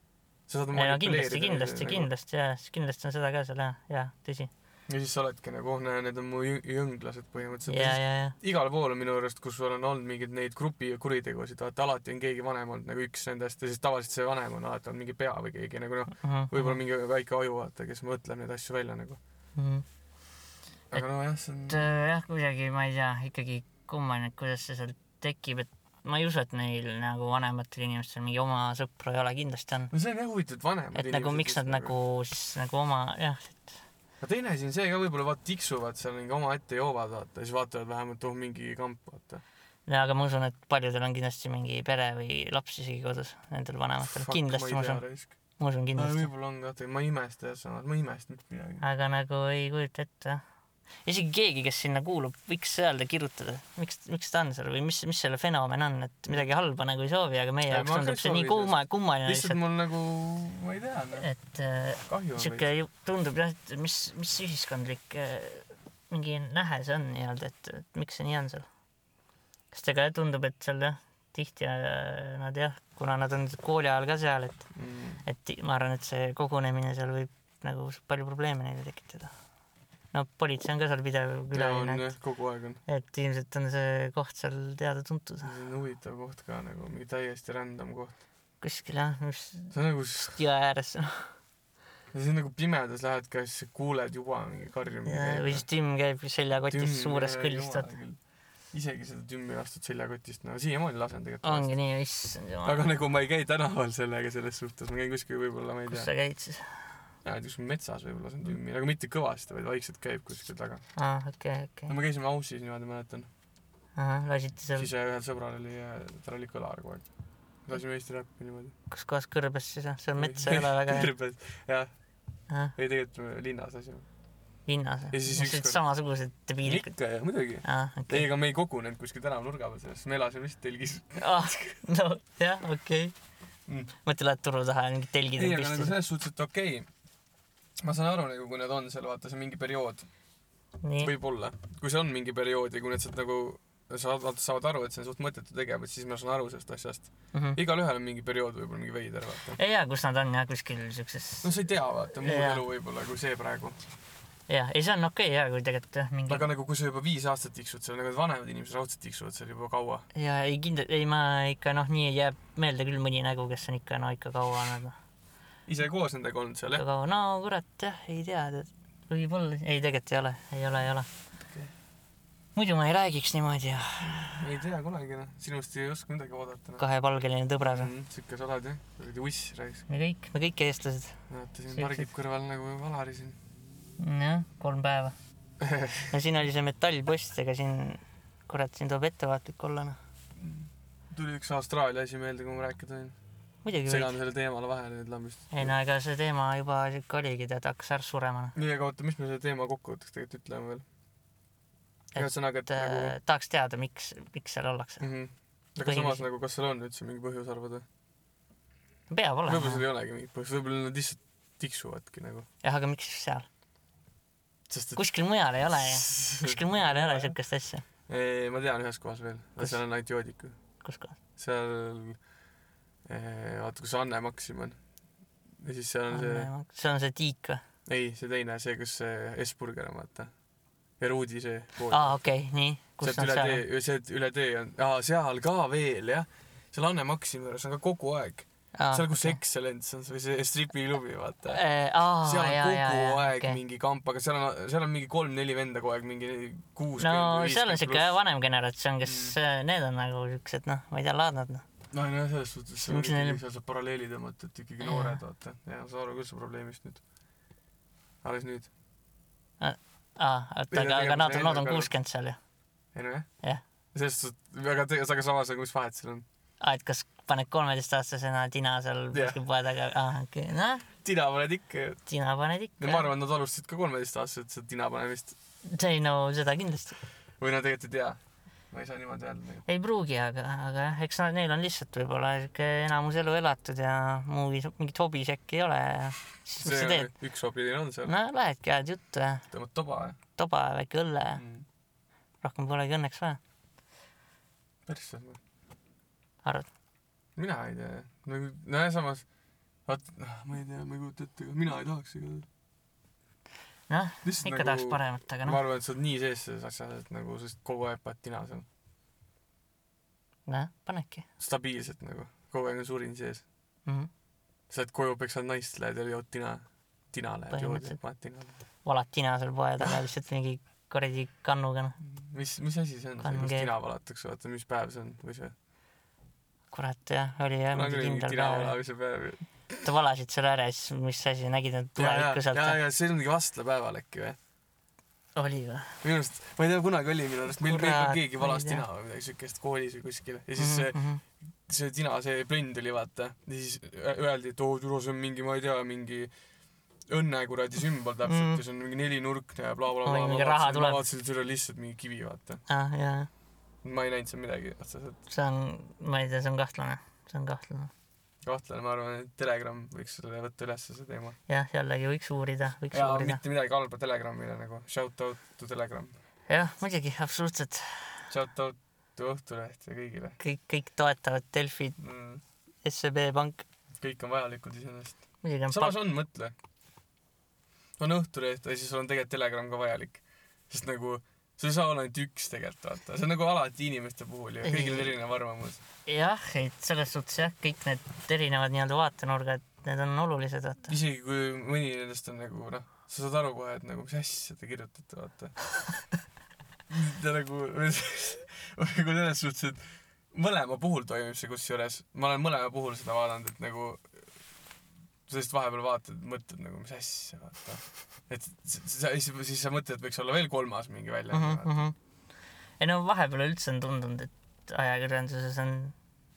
sa saad
ei no kindlasti ,
manipuleerida
kindlasti ,
neid nagu.
kindlasti jaa , kindlasti on seda ka seal jah , jaa , tõsi .
ja siis sa oledki nagu , oh näe , need on mu jõng- jõnglased põhimõtteliselt
ja ,
yeah. .
ja , ja ,
igal pool on minu arust , kus sul on olnud mingeid neid grupi kuritegusid , vaata alati on keegi vanem olnud nagu üks nendest ja siis tavaliselt see vanem on alati olnud mingi pea või keegi nagu noh ,
Mhm.
võib-olla mingi väike aju vaata , kes mõtleb neid asju välja nagu .
mingi .
aga nojah , see on
et äh, jah , kuidagi ma ei tea , ikkagi kummaline , et kuidas see seal tekib , et ma ei usu , et neil nagu vanematel inimestel mingi oma sõpru ei ole , kindlasti on .
no see on jah huvitav , et vanemad
et nagu miks nad . nagu siis nagu oma jah , et
aga teine asi on see ka võib-olla vaat tiksuvad seal mingi omaette joovad vaata , siis vaatavad vähemalt , oh mingi kamp vaata .
ja aga ma usun , et paljudel on kindlasti mingi pere või laps isegi kodus , nendel vanematel , kindlasti ma usun , ma usun kindlasti .
võib-olla on ka , ma ei imesta jah samas , ma ei imesta mitte midagi .
aga nagu ei kujuta ette jah . isegi keegi , kes sinna kuulub , võiks öelda , kirjutada , miks , miks ta on seal või mis , mis selle fenomen on , et midagi halba nagu ei soovi , aga meie
Ei,
jaoks
ma ka
tundub
ei
see nii
soovi
kumma , kummaline
lihtsalt
lihtsalt ,
mul nagu , ma ei tea , noh ,
et äh,
kahju on
sihuke . ju- tundub jah , et mis , mis ühiskondlik äh, mingi nähe see on nii-öelda , et et miks see nii on seal . sest ega tundub , et seal jah , tihti äh, nad jah , kuna nad on kooli ajal ka seal , et ,
Mm.
et ti- ma arvan , et see kogunemine seal võib nagu palju probleeme neile tekitada . no politsei on ka seal pidev
ja on
külaline ,
jah , kogu aeg on .
et , et ilmselt on see koht seal teada-tuntud
see on huvitav koht ka nagu , mingi täiesti random koht .
kuskil jah , mis
see on nagu , see
jõe ääres on
on nagu pimedas lähed ka , siis kuuled juba mingi
ja või
karjumist
siis . Tim käib seljakotis suures kõllis , vaata .
isegi seda tümmi lastud seljakotist , no siiamaani lasen tegelikult .
ongi nii , issand jumal .
aga nagu ma ei käi tänaval sellega selles suhtes , ma käin kuskil võib-olla , ma ei
kus
tea ,
sa käid siis ?
kuskil metsas võib-olla lasen tümmi , aga mitte kõvasti , vaid vaikselt käib kuskil taga .
aa , Ah, okei ,
no
okei .
me käisime Aussis niimoodi , mäletan .
ahah , lasite seal ,
siis ühel sõbral oli , tal oli kõlar kogu aeg . lasime Eesti räppi niimoodi .
kus kohas kõrbes siis on , seal metsa ei ole väga hea .
kõrbes , jah ,
ahah ,
ei tegelikult me linnas lasime .
linnas
Ja
või ?
siis
siis olid
ükskord-
samasugused debiilikud .
ikka ja muidugi .
aa ,
ei ,
okei .
ega me ei kogunenud kuskil tänavanurga peal sellest , me elasime lihtsalt telgis .
ah , no jah , okei
Mm. .
mõtle , lähed turu taha ja mingid telgid
ei ,
on
aga nagu
püsti .
selles suhtes , et okei okay. , ma saan aru nagu , kui nad on seal , vaata , see on mingi periood ,
nii ,
võib-olla , kui see on mingi periood ja kui nad sealt nagu saavad , vaata saavad aru , et see on suht mõttetu tegevus , siis ma saan aru sellest asjast . igalühel on mingi periood võib-olla mingi veider , vaata .
Mhm. ei jaa , kus nad on jah , kuskil siukses ,
no sa ei tea , vaata , muu
Jaa.
elu võib-olla kui see praegu .
jah , ei see on okei jaa , kui tegelikult jah , mingi
aga nagu , kui sa juba viis aastat tiksud seal , nagu need vanemad inimesed raudselt tiksuvad seal juba kaua .
ja ei kindla- , ei ma ikka noh , nii jääb meelde küll mõni nägu , kes on ikka no ikka kaua olnud noh .
ise koos nendega olnud seal , jah ?
aga no kurat jah , ei tea , võib-olla , ei tegelikult ei ole , ei ole , ei ole
Okei.
okay. . muidu ma ei räägiks niimoodi ja
ei tea kunagi , noh . sinust ei oska midagi oodata , noh .
kahepalgeline tõbras on .
sihuke sa oled , jah ? sa oled ju uss , räägis .
me kõik , me kõik eestlased .
vaata , siin
Siuksed-
pargib kõrval nagu Alari siin .
jah , kolm päeva . no siin oli see metallpost , ega siin , kurat , siin tuleb ettevaatlik olla noh .
tuli üks Austraalia asi meelde , kui ma rääkida võin .
muidugi võib .
segame selle teemale vahele nüüd lambist .
ei no ega see teema juba siuke oligi , tead , hakkas ära surema noh .
nii , aga oota , mis me selle teema kokkuvõtteks tegelikult ütleme veel ?
Et,
ühesõnaga , et
et äh,
nagu
tahaks teada , miks , miks seal ollakse .
mhmh. aga
põhimõtteliselt-
samas nagu , kas seal on üldse mingi põhjus arvada ?
peab
võib-olla seal
olema .
ei olegi mingit põhjust , võib-olla nad lihtsalt tiksuvadki nagu .
jah , aga miks just seal ?
sest et
kuskil mujal ei ole ju . kuskil mujal ei ole siukest asja .
ei , ma tean ühes kohas veel ,
Kus?
seal on ainult joodikud .
kus kohas ?
seal , vaata kus Anne Maxim on . ja siis seal on see ,
see on see tiik või ?
ei , see teine , see , kus see Esburger on , vaata . ja Ruudi see pood .
aa , okei , nii . kus
sealt
nad
üle
seal on ?
tee , sealt üle tee on , aa , seal ka veel jah . seal Anne Maximi juures on ka kogu aeg .
Aa,
seal , kus
okei.
Excellence on , või see stripiklubi , vaata .
Äh, aa ,
seal on
jaa , jaa ,
kogu
jaa ,
aeg
okei .
mingi kamp , aga seal on , seal on mingi kolm-neli venda kogu aeg , mingi kuus .
no seal on siuke . vanem generatsioon , kes mm. , need on nagu siuksed , noh , ma ei tea , laadnad , noh .
no nojah , selles suhtes seal,
Miks neil-
ikkagi, seal saab paralleeli tõmmata , et ikkagi
Jaa.
noored , vaata . ja ma saan aru küll su probleemist nüüd . alles nüüd .
aa ,
Ei,
oota , aga ,
tegelikult
aga nad
see
on , nad on
eelmine kord-
kuuskümmend seal ju .
ei nojah .
Jah.
selles suhtes , aga te- , aga samas , aga mis vahet seal on ?
aa , et kas paned kolmeteistaastasena tina seal
Jah.
kuskil poe taga , aa , okei okay. , noh ,
tina paned ikka ju .
tina paned ikka .
ma arvan , et nad alustasid ka kolmeteistaastaselt seda tina panemist .
ei no seda kindlasti .
või no tegelikult ei tea . ma ei saa niimoodi öelda . nagu.
ei pruugi , aga , aga jah , eks nad , neil on lihtsalt võib-olla siuke enamus elu elatud ja muugi , mingit hobis äkki ei ole ja siis mis sa
see
teed ?
üks hoopis on seal .
no lähedki , ajad juttu ja
tõmbad toba ja
toba ja väike õlle ja
mm. .
rohkem polegi õnneks vaja ,
päris selge .
arvad ?
mina ei tea , nagu nojah , samas vaat , ma ei tea , ma ei kujuta ette , mina ei tahaks igatahes .
noh ,
lihtsalt
ikka nagu... tahaks paremat , aga
ma
noh ,
arvan , et sa oled nii sees selles asjas , et nagu sa lihtsalt kogu aeg paned tina seal ,
nojah , panedki
stabiilselt nagu , kogu aeg on surin sees .
mm . -hmm.
sa lähed koju , peksad naist , lähed ja jood tina , tina lähed jood ja
Põhimõtteliselt.
paned tina .
valad tina seal poe taga lihtsalt mingi kuradi kannuga , noh .
mis , mis asi see on ,
Kange.
kus tina valatakse , vaata , mis päev see on või see ?
kurat jah , oli jah
kunagi
mingi
oli mingi
kindel päev .
tiralaulmise päev .
Te valasid selle ära ja siis mis asi , nägid nad
ja , ja ,
tulevikku
ja ,
sealt ?
ja see oli mingi vastlapäeval äkki või ?
oli või ?
minu arust , ma ei tea , kunagi oli minu arust , meil , meil
Kurat,
keegi
ma ei
valas
tea. Mhm.
tina või midagi siukest koolis või kuskil ja siis see , see tina , see plönn tuli vaata ja siis ö- öeldi , et oo türa , see on mingi , ma ei tea , mingi õnne kuradi sümbol täpselt
Mm.
ja see on mingi nelinurkne ja blablabla
Oi,
bla, .
mingi raha tuleb.
ma vaatasin , et see oli lihtsalt mingi kivi , vaata .
ah jaa ,
ma ei näinud seal midagi otseselt .
see on , ma ei tea , see on kahtlane , see on kahtlane .
kahtlane , ma arvan , et Telegram võiks selle võtta ülesse , see teema .
jah , jällegi võiks uurida , võiks
ja
uurida .
mitte midagi halba Telegramile nagu . Shout out to Telegram .
jah , muidugi , absoluutselt .
Shout out to Õhtuleht ja kõigile
kõik , kõik toetavad Delfit ,
mm. .
SEB Pank ,
kõik on vajalikud iseenesest .
muidugi on
samas
pank ,
on , mõtle . on Õhtuleht ja siis sul on tegelikult Telegram ka vajalik . sest nagu see ei saa olla ainult üks tegelikult vaata , see on nagu alati inimeste puhul ju , kõigil on
Ei.
erinev arvamus .
jah , et selles suhtes jah , kõik need erinevad nii-öelda vaatenurgad , need on olulised , vaata .
isegi kui mõni nendest on nagu noh , sa saad aru kohe , et nagu mis asja te kirjutate vaata . ta nagu , nagu selles suhtes , et mõlema puhul toimub see kusjuures , ma olen mõlema puhul seda vaadanud , et nagu sa lihtsalt vahepeal vaatad , mõtled nagu mis asja vaata . et sa siis, siis sa mõtled , et võiks olla veel kolmas mingi
Mhm.
väljaanne vaata.
ei no vahepeal üldse on tundunud , et ajakirjanduses on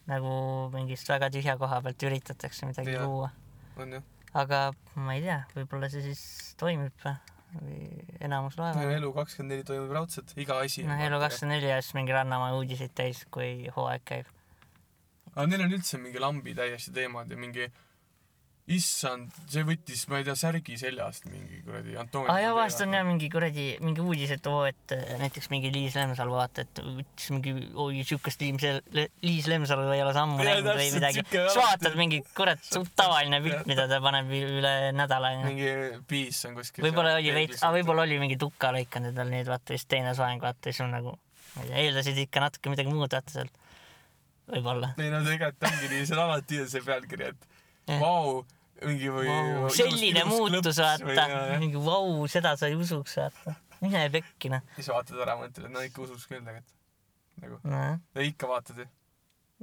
nagu mingist väga tühja koha pealt üritatakse midagi
Jah.
ja. luua ,
on ju ,
aga ma ei tea , võib-olla see siis toimib või- või enamus loevad .
elu kakskümmend neli toimub raudselt , iga asi .
noh , Elu kakskümmend neli ajas mingi Rannamäe uudiseid täis , kui hooaeg käib .
aga neil on üldse mingi lambi täiesti teemad ja mingi issand , see võttis , ma ei tea , särgi seljast mingi kuradi Antoni .
aa jaa , vahest on jah . mingi kuradi , mingi uudis , et oo , et äh, näiteks mingi Liis Lemsalu vaata , et ütles mingi , oi siukest Liis , Liis Lemsalu ei ole sammu
Jaa,
näinud või
täpselt,
midagi .
sihuke
siis
alati.
vaatad mingi kurat suht tavaline pilt , mida ta paneb ü- üle nädala onju .
mingi piis on kuskil .
võib-olla oli veits , aa võib-olla oli mingi tukka lõikanud endal nüüd vaata , siis teine soeng vaata , siis on nagu , ma ei tea , eeldasid ikka natuke midagi muud vaata sealt . võib-olla .
ei no tegelikult ongi nii , see on alati see pealkiri , et
Jah.
vau , mingi või .
Eh. selline muutus vaata , mingi vau , seda sa ei usuks vaata . mine pekki noh .
siis vaatad ära , mõtled , et no ikka usuks küll tegelikult . nagu ,
nojah ,
ikka vaatad ju .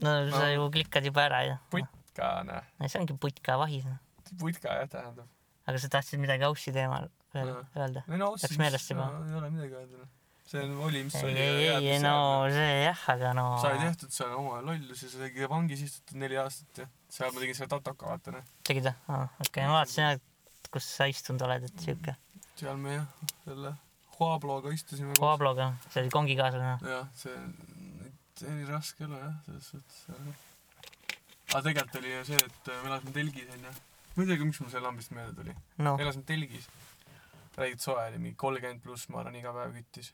no sa
No.
ju klikkad juba ära ju .
putka , noh ,
no see ongi putka vahis , noh .
putka jah , tähendab .
aga sa tahtsid midagi Aussi teemal veel
Jaa.
öelda ?
ei no
Läks meelest juba?
no, ei ole midagi öelda , noh . see on- oli , mis
ei ,
oli .
ei , ei , ei no see jah , aga no
sai tehtud seal oma lollusi , sa tegid vangis istutud neli aastat ja seal ma tegin selle tatoka , vaata noh .
tegid või ? aa , okei , ma vaatasin jah , et kus sa istunud oled , et siuke .
seal me jah , selle Huabloga istusime koos .
Pabloga , see oli kongikaaslane .
jah , see , see oli raske elu jah , selles suhtes . aga tegelikult oli ju see , et äh, me elasime telgis onju . ma ei teagi , miks mul see lambist meelde tuli .
noh ,
elasime telgis . räägid soe oli mingi kolmkümmend pluss , ma arvan , iga päev küttis .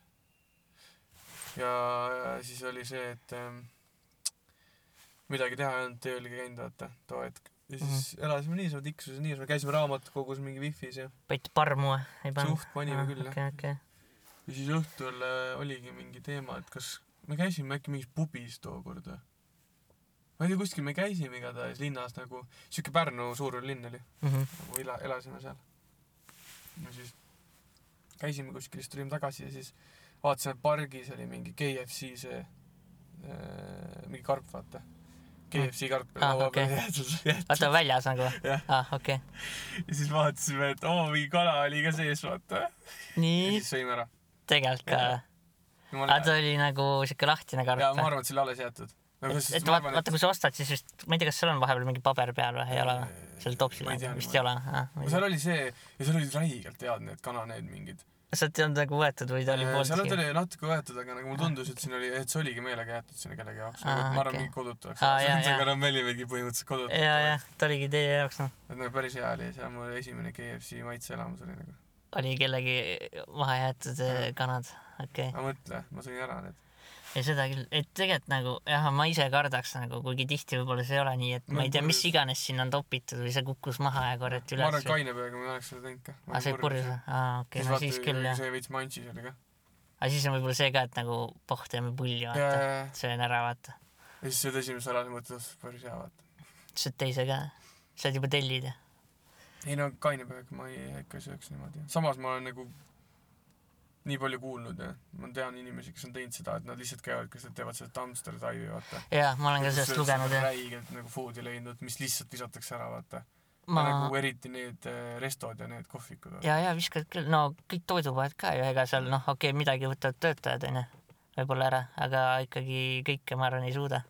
ja siis oli see , et ähm, midagi teha ei olnud , tööl ei käinud , vaata , too hetk . ja siis
Mhm.
elasime niisama tiksuses , niisama , käisime raamatukogus mingi wifi's ja
panite parmu või ? ei pannud .
suht panime küll jah .
okei , okei .
ja siis õhtul äh, oligi mingi teema , et kas me käisime äkki mingis pubis tookord või ? ma ei tea , kuskil me käisime igatahes linnas nagu , siuke Pärnu suur linn oli .
Mhm.
nagu ela , elasime seal . no siis käisime kuskil , siis tulime tagasi ja siis vaatasime , et pargis oli mingi KFC see äh, , mingi karp , vaata . KFC karp oli
Ah,
laua
okei.
peal jäetud jäetud.
oota , väljas nagu või
Jah. ?
aa , okei .
ja siis vaatasime , et oo , mingi kala oli ka sees , vaata . ja
nii ,
siis sõime ära .
tegelikult ka või ? aga
jumala
ta
hea .
oli nagu siuke lahtine karp
ja ma
või ?
arvan , et see oli alles jäetud . Nagu
et et vaata , vaata , kui sa ostad , siis vist , ma ei tea , kas seal on vahepeal mingi paber peal või ei ole või ? seal topsil
ma ei tea,
vist
ma
ei ole või ?
seal oli see ja seal olid räigelt head need kananeed mingid .
sealt ei olnud nagu võetud või ta oli
Äh, seal
pooltki
nad ? oli natuke võetud , aga nagu mulle tundus , et siin oli , et see oligi meelega jäetud sinna kellegi jaoks .
Aa,
ma arvan ,
Ah, okei.
mingi kodutu oleks
Aa, jaa,
olnud .
jaa.
aga noh , me olimegi põhimõtteliselt kodutud .
ja , ja ta oligi teie jaoks noh ,
et nagu päris hea oli , see on mu esimene KFC maitseelamus oli nagu .
oli kellegi maha jäetud eh, kanad , okei okay. .
aga mõtle , ma sõin ära need .
ja seda küll , et tegelikult nagu jah , ma ise kardaks nagu , kuigi tihti võib-olla see ei ole nii , et ma
Nagu
ei tea , mis iganes sinna on topitud või see kukkus maha ja korjati
ma arvan ,
üles
et . kaine peaga ma ei oleks seda teinud ka .
aa , see oli Ah, purjus või ? aa , okei , no siis küll jah .
see veits manchis oli ka .
aga siis on võib-olla see ka , et nagu poh , teeme pulli ,
ja , ja
vaata .,
ja
söön ära , vaata .
ja siis sööd esimese ära , siis mõtled , et päris hea vaata .
sööd teise ka . saad juba tellida .
ei no kaine peaga ma ei , ikka ei sööks niimoodi . samas ma olen nagu nii palju kuulnud ja ma tean inimesi , kes on teinud seda , et nad lihtsalt käivad , kas nad teevad seda dumpster dive'i , vaata .
jah , ma olen ka sellest lugenud jah .
räigelt nagu food'i leidnud , mis lihtsalt visatakse ära , vaata .
ma ,
nagu eriti need eh, restod ja need kohvikud .
ja , ja viskad küll , no kõik toidupoed ka ju , ega seal noh , okei okay, , midagi võtavad töötajad onju , võib-olla ära , aga ikkagi kõike ma arvan ei suuda .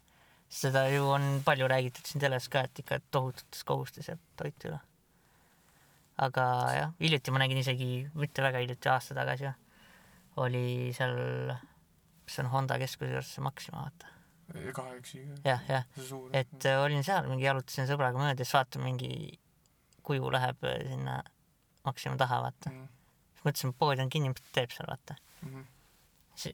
seda ju on palju räägitud siin teles ka , et ikka tohututes kogustes jääb toitu üle . aga jah , hiljuti ma nägin isegi , mitte väga hiljuti , aasta tagasi jah , oli seal , mis on Honda keskuse juures see Maxima vaata ,
kahe üksi .
jah , jah ,
see suur .
et äh, olin seal , mingi jalutasin sõbraga mööda , siis vaatan mingi kuju läheb äh, sinna Maxima taha vaata .
Mhm.
siis mõtlesime , pood on kinni , mis ta teeb seal , vaata .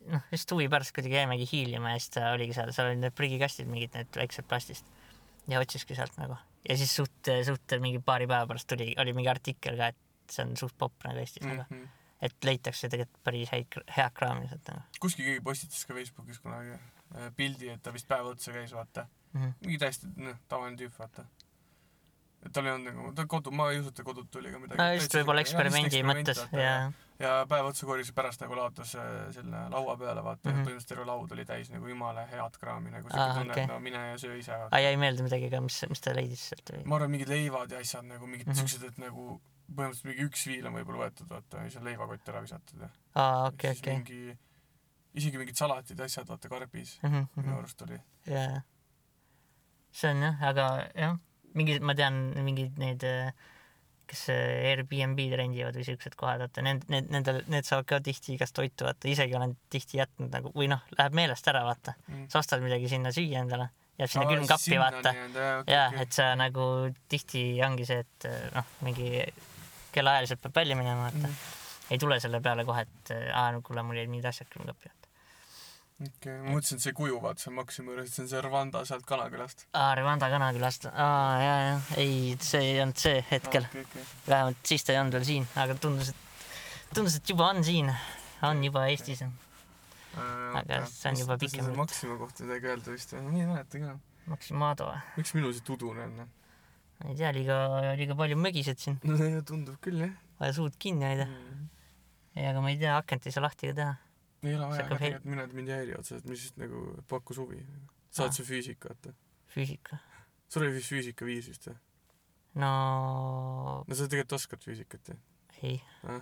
noh , lihtsalt huvi pärast kuidagi jäimegi hiilima ja siis ta oligi seal , seal olid need prügikastid mingid need väiksed plastist ja otsiski sealt nagu ja siis suht , suht mingi paari päeva pärast tuli , oli mingi artikkel ka , et see on suht popp nagu Eestis mm. ,
Mhm.
aga et leitakse tegelikult päris häid , head kraami sealt nagu
kuskil keegi postitas ka Facebookis kunagi eh, pildi , et ta vist päev otsa käis , vaata .
mm . -hmm.
mingi täiesti , noh , tavaline tüüp , vaata . et tal ei olnud nagu , ta kodu , ma ei usu , et ta kodult tuli ega midagi .
no just võib-olla eksperimendi mõttes ja .
ja päev otsa korjas ja pärast nagu laotas äh, selle laua peale , vaata mm
Mhm.
-hmm. põhimõtteliselt terve laud oli täis nagu jumala head kraami nagu
Aa,
siuke tunne okay. ,
okei.
et no mine ja söö ise .
aa , jäi meelde midagi ka , mis , mis ta leidis sealt või ?
ma arvan , mingid leivad ja asjad nagu mingid mm
Mhm.
-hmm. siuksed , et nagu põhimõtteliselt mingi üks viil on võib-olla võetud , vaata , ja siis on leivakott ära visatud ja
aa , okei ,
siis
okei .
mingi , isegi mingid salatid ja asjad , vaata karbis
Mhm,
minu arust oli .
jaa , see on jah , aga jah , mingi , ma tean mingeid neid , kes äh, Airbnb-d rendivad või siuksed kohad , vaata need , need , nendel , need saavad ka tihti igast toitu , vaata isegi olen tihti jätnud nagu või noh , läheb meelest ära , vaata ,
Mm.
sa ostad midagi sinna süüa endale , jääb sinna külmkappi , vaata . jaa , et sa nagu tihti ongi see , et äh, noh , mingi kellaajaliselt peab välja minema , vaata mm. . ei tule selle peale kohe , et äh, aa , no kuule , mul jäid mingid asjad külmkappi , vaata .
okei , ma mõtlesin , et see kuju , vaata , see on Maxima juures , see on see Rwanda sealt Kanakülast .
aa , Rwanda kanakülast , aa jaa , jah , ei , see ei olnud see hetkel , vähemalt siis ta ei olnud veel siin , aga tundus , et tundus , et juba on siin , on juba Eestis . Aga see on juba pikem jutt.
Maxima kohta midagi öelda vist või ? ma ei mäleta ka .
Maximado ,
miks minul see tudune on ?
ma ei tea , liiga , liiga palju mögised siin ,
no see tundub küll jah . Mm.
vaja suud kinni hoida .
ei
ei , aga ma ei tea , akent ei saa lahti ka teha .
ole
See
vaja
hakkab
ka
hel-
tegelikult , mina , mind ei häiri otseselt , mis just nagu pakkus huvi . sa oled see füüsik , vaata .
füüsika ,
sul oli vist füüsika viis vist või ?
no
no sa tegelikult oskad füüsikat ju .
ei
Ah. .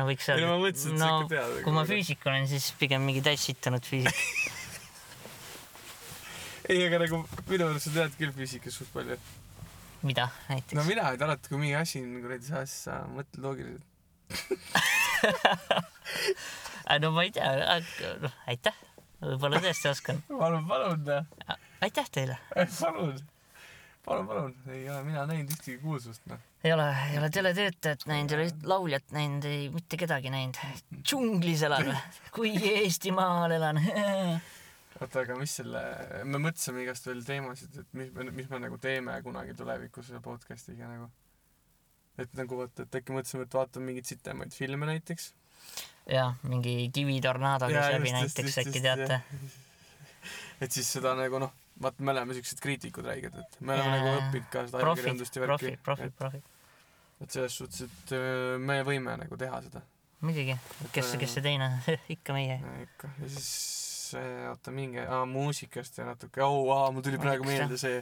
no võiks
ei no
öelda
ma , mõtlesin , et sa ikka
no
nagu- tead .
kui ma füüsik olen , siis pigem mingi täissittunud füüsik .
ei , aga nagu minu arust sa tead küll füüsikast suht palju .
mida
no
näiteks ?
mina , et alati , kui mingi asi on kuradi saas , sa mõtled loogiliselt .
no ma ei tea , noh aitäh , võib-olla tõesti oskan .
palun , palun ,
aitäh teile .
palun , palun , palun , ei ole mina näinud ühtegi kuulsust , noh .
ei ole , ei ole teletöötajat näinud , ei ole üht lauljat näinud , ei mitte kedagi näinud . džunglis elan või ? kui Eestimaal elan .
oota , aga mis selle , me mõtlesime igast veel teemasid , et mis me , mis me nagu teeme kunagi tulevikus selle podcast'iga nagu . et nagu vaata , et äkki mõtlesime , et vaatame mingeid sitemaid filme näiteks .
jah , mingi kivitornaado
Jaa,
käis läbi
just, just,
näiteks ,
just,
äkki
just,
teate .
et siis seda nagu noh , vaata , me oleme siuksed kriitikud räiged , et me oleme
Jaa.
nagu õppinud ka seda
profid ,
ajakirjandust ja
profid ,
värki
profid ,. profid .
et selles suhtes , et öö, me võime nagu teha seda
muidugi , kes , kes see teine , ikka meie .
Ja ikka , ja siis äh, oota mingi , aa muusikast ja natuke , oo aa , mul tuli praegu
Muusikast,
meelde see ,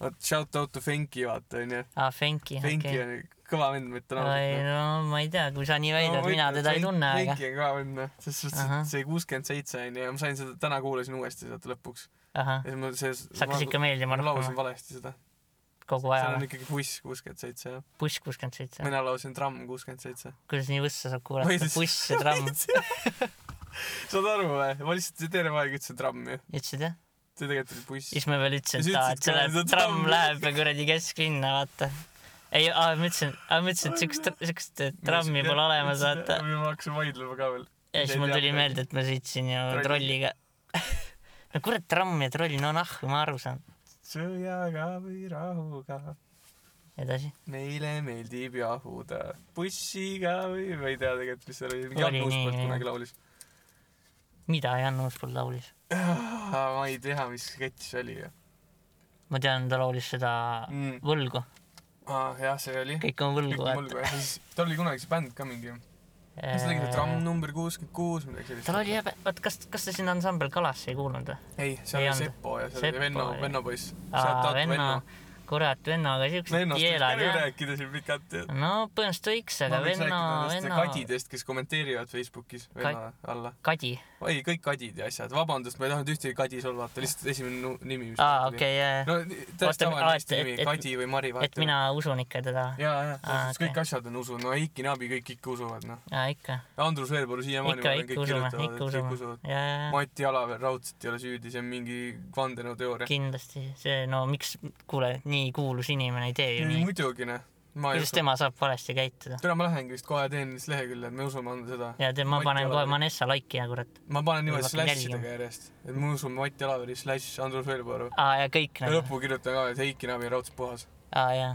vot shout out to Fenki vaata onju ,
aa , Fenki ,
Fenki
okei .
on kõva vend , ma ütlen
ei
ausalt . noh.
no ma ei tea , kui sa nii väidad , mina teda ei tunne , aga
Fenki on kõva vend noh , selles suhtes ,
Ahah.
et see kuuskümmend seitse onju ja ma sain seda , täna kuulasin uuesti sealt lõpuks .
ahah ,
ja siis mul see ,
sa hakkasid ikka meeldima
ma laulsin
rohkem
valesti seda ,
kogu aja
seal on
või ?
ikkagi buss kuuskümmend seitse jah ,
buss kuuskümmend seitse ,
mina laulsin tramm kuuskümmend seitse .
kuidas nii võssa
Ma
saab
ei
kuulata ,
tea,
buss ja tramm ,
saad aru või , ma lihtsalt terve aeg ütlesin tramm ju ,
ütlesid jah ?
see tegelikult oli buss .
siis ma veel ütlesin , et
Ja
aa ,
sa ütlesid
et see
ka,
läheb
et , see
tramm
tramm-
läheb ja kuradi kesklinna , vaata . ei , aa , ma ütlesin , aa , ma ütlesin , et siukest , siukest trammi pole olemas , vaata .
me hakkasime vaidlema ka veel .
ja siis mul tuli meelde , et ma sõitsin ju
Trolli.
trolliga . no kurat , tramm ja troll , no nahku , ma aru saan .
sõjaga või rahuga ,
edasi .
meile meeldib jahuda bussiga või ma ei tea tegelikult , mis seal oli , mingi
Oli
Jan Uuspõld
nii,
kunagi laulis .
mida Jan Uuspõld laulis ?
ma ei tea , mis sketš see oli .
ma tean , ta laulis seda võlgu ,
jah , see oli .
Mm. kõik on võlgu ,
kõik on
vaata .
mulgu ja siis tal oli kunagi see bänd ka mingi , sa tegid ju tramm number kuuskümmend kuus , midagi sellist .
tal oli jah , vaat kas , kas te sinna ansambel Kalasse ei kuulnud või ?
ei , seal
ei
oli
olnud.
Sepo ja seal oli
Seppo
Venno ,
ja-
Venno poiss .
venna , kurat , vennaga siuksed
Vennost võiks ka
keelad
ju
jah .
rääkida siin pikalt .
no põhimõtteliselt võiks ,
ma
aga
võiks
venna
rääkida , nendest
venna ,
kadidest , kes kommenteerivad Facebookis venna alla .
Kadi .
ei , kõik kadid ja asjad , vabandust , ma ei tahtnud ühtegi kadi solvata , lihtsalt esimene nu- nimi .
aa , okei , jajah .
no täiesti
Oota, aa,
tavaline
et-
Eesti nimi
et- , et-
Kadi või Mari ,
et
vaata .
mina usun ikka teda .
ja , ja ,
Aa,
kõik
Ah, okei.
asjad on usu , no Eiki Naabi kõik ikka usuvad , noh .
jaa , ikka ,
Andrus Veerpalu siiamaani ,
ikka
ma , arvan ,
ikka
kõik
usume ,
kirjutavad , et
ikka
kõik
usume
usuvad ..
jajah .
Mati Alaver raudselt ei ole süüdi , see on mingi vandenõuteooria .
kindlasti see , no miks , kuule , nii kuulus inimene ei tee ju
ei
nii .
muidugi , noh . ma ei
kuidas
usu .
tema saab valesti käituda ?
täna ma lähengi vist kohe teen siis lehekülje , et me usume anda seda .
ja te , ma
Mati
panen kohe
Alaver.
Manessa like'i ja kurat .
ma panen niimoodi
Või vaata,
slašidega järjest , et me usume Mati Alaveri slaš Andrus Veerpalu .
aa , ja kõik
ja
nagu ,
lõppu kirjutan ka , et Eiki Naabi on raudselt puhas .
aa jaa .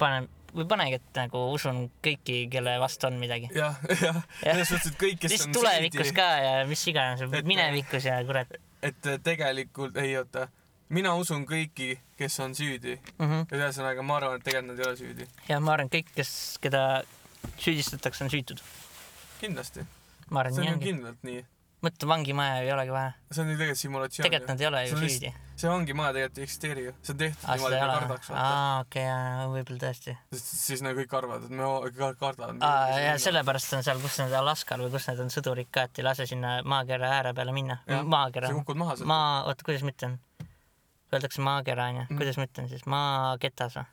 panen , või panegi , et nagu usun kõiki , kelle vastu on midagi .
jah , jah ,
Jah.
selles suhtes , et kõik , kes
siis
on
tulevikus ka ja mis iganes
Et- ,
minevikus ja kurat
et tegelikult , ei oota , mina usun kõiki , kes on süüdi .
mm . -hmm.
ühesõnaga , ma arvan , et tegelikult nad ei ole süüdi .
ja ma arvan , kõik , kes , keda süüdistatakse , on süütud .
kindlasti .
ma arvan ,
see
nii
on ju
ongi .
kindlalt nii .
mõtle , vangimaja ei olegi vaja .
see on ju tegelikult simulatsioon .
tegelikult nad ei ole
See on
ju
lihtsalt-
süüdi .
see ongi maja tegelikult ei eksisteeri ju , see on tehtud
aa ,
niimoodi , et
seda ei
me
ole
kardaks , vaata .
aa , okei , võib-olla tõesti
sest siis nagu kõik arvavad , et me o- ka- kardame .
aa , ja . sellepärast on seal , kus nad Alaskal või kus nad on sõdurid ka , et ei lase sinna maakera ääre peale minna .
Jah,
maakera
sa , kukud maha sealt Ma... .
maa , oota , kuidas ma ütlen ? Öeldakse maakera onju ,
Mm.
kuidas ma ütlen siis , maaketas või ?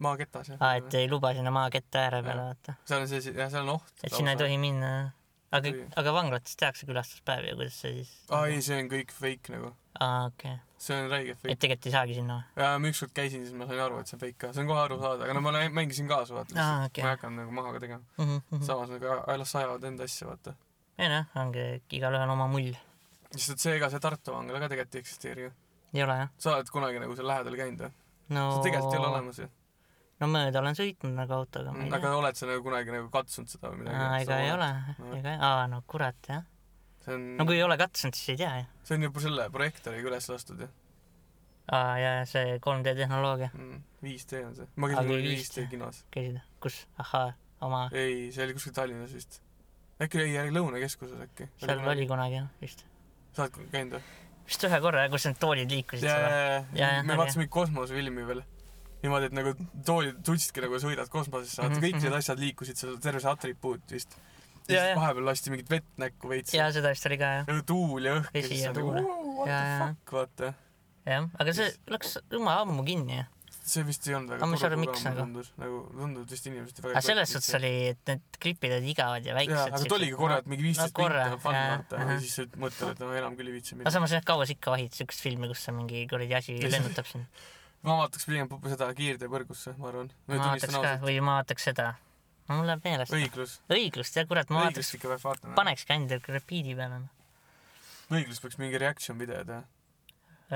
maaketas jah
aa , et ei luba sinna maaketta ääre peale
Jah.
vaata ,
seal on see , jah , seal on oht .
et sinna ei . tohi minna . aga
Ei. ,
aga vanglates tehakse külastuspäevi ja kuidas see siis ?
aa ei , see on kõik fake nagu .
aa , okei ,
see on räige
et
fake .
tegelikult ei saagi sinna või ?
ja ma ükskord käisin , siis ma sain aru , et see on fake ka . see on kohe aru saada , aga no ma lä- mängisin kaasa , vaata .
Aa, okei. Mhm.
ma ei hakanud nagu maha ka tegema . samas nagu a- las ajavad enda asja , vaata .
ei noh , ongi igalühel oma mull ,
lihtsalt see , ega see Tartu vangla ka tegelikult ei eksisteeri ju .
ei ole jah ?
sa oled kunagi nagu seal lähedal käinud või ?
no
see tegelikult ei ole , olemas ju .
no mööda olen sõitnud nagu autoga , ma ei tea
aga . oled sa nagu kunagi nagu katsunud seda või midagi ?
aa , ega ei ole ,
No.
ega , aa no kurat jah .
see on
no kui ei ole katsunud , siis ei tea ju .
see on juba selle projektooriga üles lastud ju
aa jaa , see 3D tehnoloogia ,
mm, . 5D on see . ma
Aga
käisin kunagi
5D
5D kinos .
käisid , kus , ahhaa , oma ,
ei , see oli kuskil Tallinnas vist . äkki oli äkki Lõunakeskuses äkki .
seal oli . kunagi jah , vist .
sa oled käinud või ?
vist ühe korra , kus need toolid liikusid
ja ,
seal .
ja , ja
Jaa, , jaa,
me
oli,
vaatasime mingit kosmosefilmi veel . niimoodi , et nagu toolid , tundsidki nagu sõidad kosmosesse , vaata
Mhm,
kõik need
mhm.
asjad liikusid seal , terve see atribuut vist . ja
Jaa,
siis
jaa.
vahepeal lasti mingit vett näkku veits .
jaa , seda vist oli ka jah ,
ja Nagu tuul ja õhk ja
Vesi
siis
ja
sa nagu
tuul.
"Wow, what
Jaa,
the
jaa.
fuck , vaata .
jah , aga see läks jumala ammu kinni ju .
see vist ei olnud väga
Aga ma ei saa aru,
tore
miks
programm ,
nagu.
tundus nagu , tundus vist inimesed väga
aga selles suhtes oli , et need klipid olid igavad ja
jaa ,
väiksed .
aga ta oligi korra , et mingi viisteist
no korra,
minti on fun
jaa,
vaata ja
ahah.
siis sa mõtled , et no enam küll ei viitsi
no
minna .
samas jah , kaua sa ikka vahid siukest filmi , kus see mingi kuradi asi
Ei, see-
lennutab sind .
ma vaataks pigem pu- seda Kiirteepõrgusse , ma arvan .
ma vaataks ka , või ma vaataks seda . mul läheb meelest .
õiglus ,
õiglust jah , kurat , ma vaataks
õiglust , ikka peab vaatama .
panekski ainult repiidi peale . noh.
õiglus peaks mingi reaction video teha .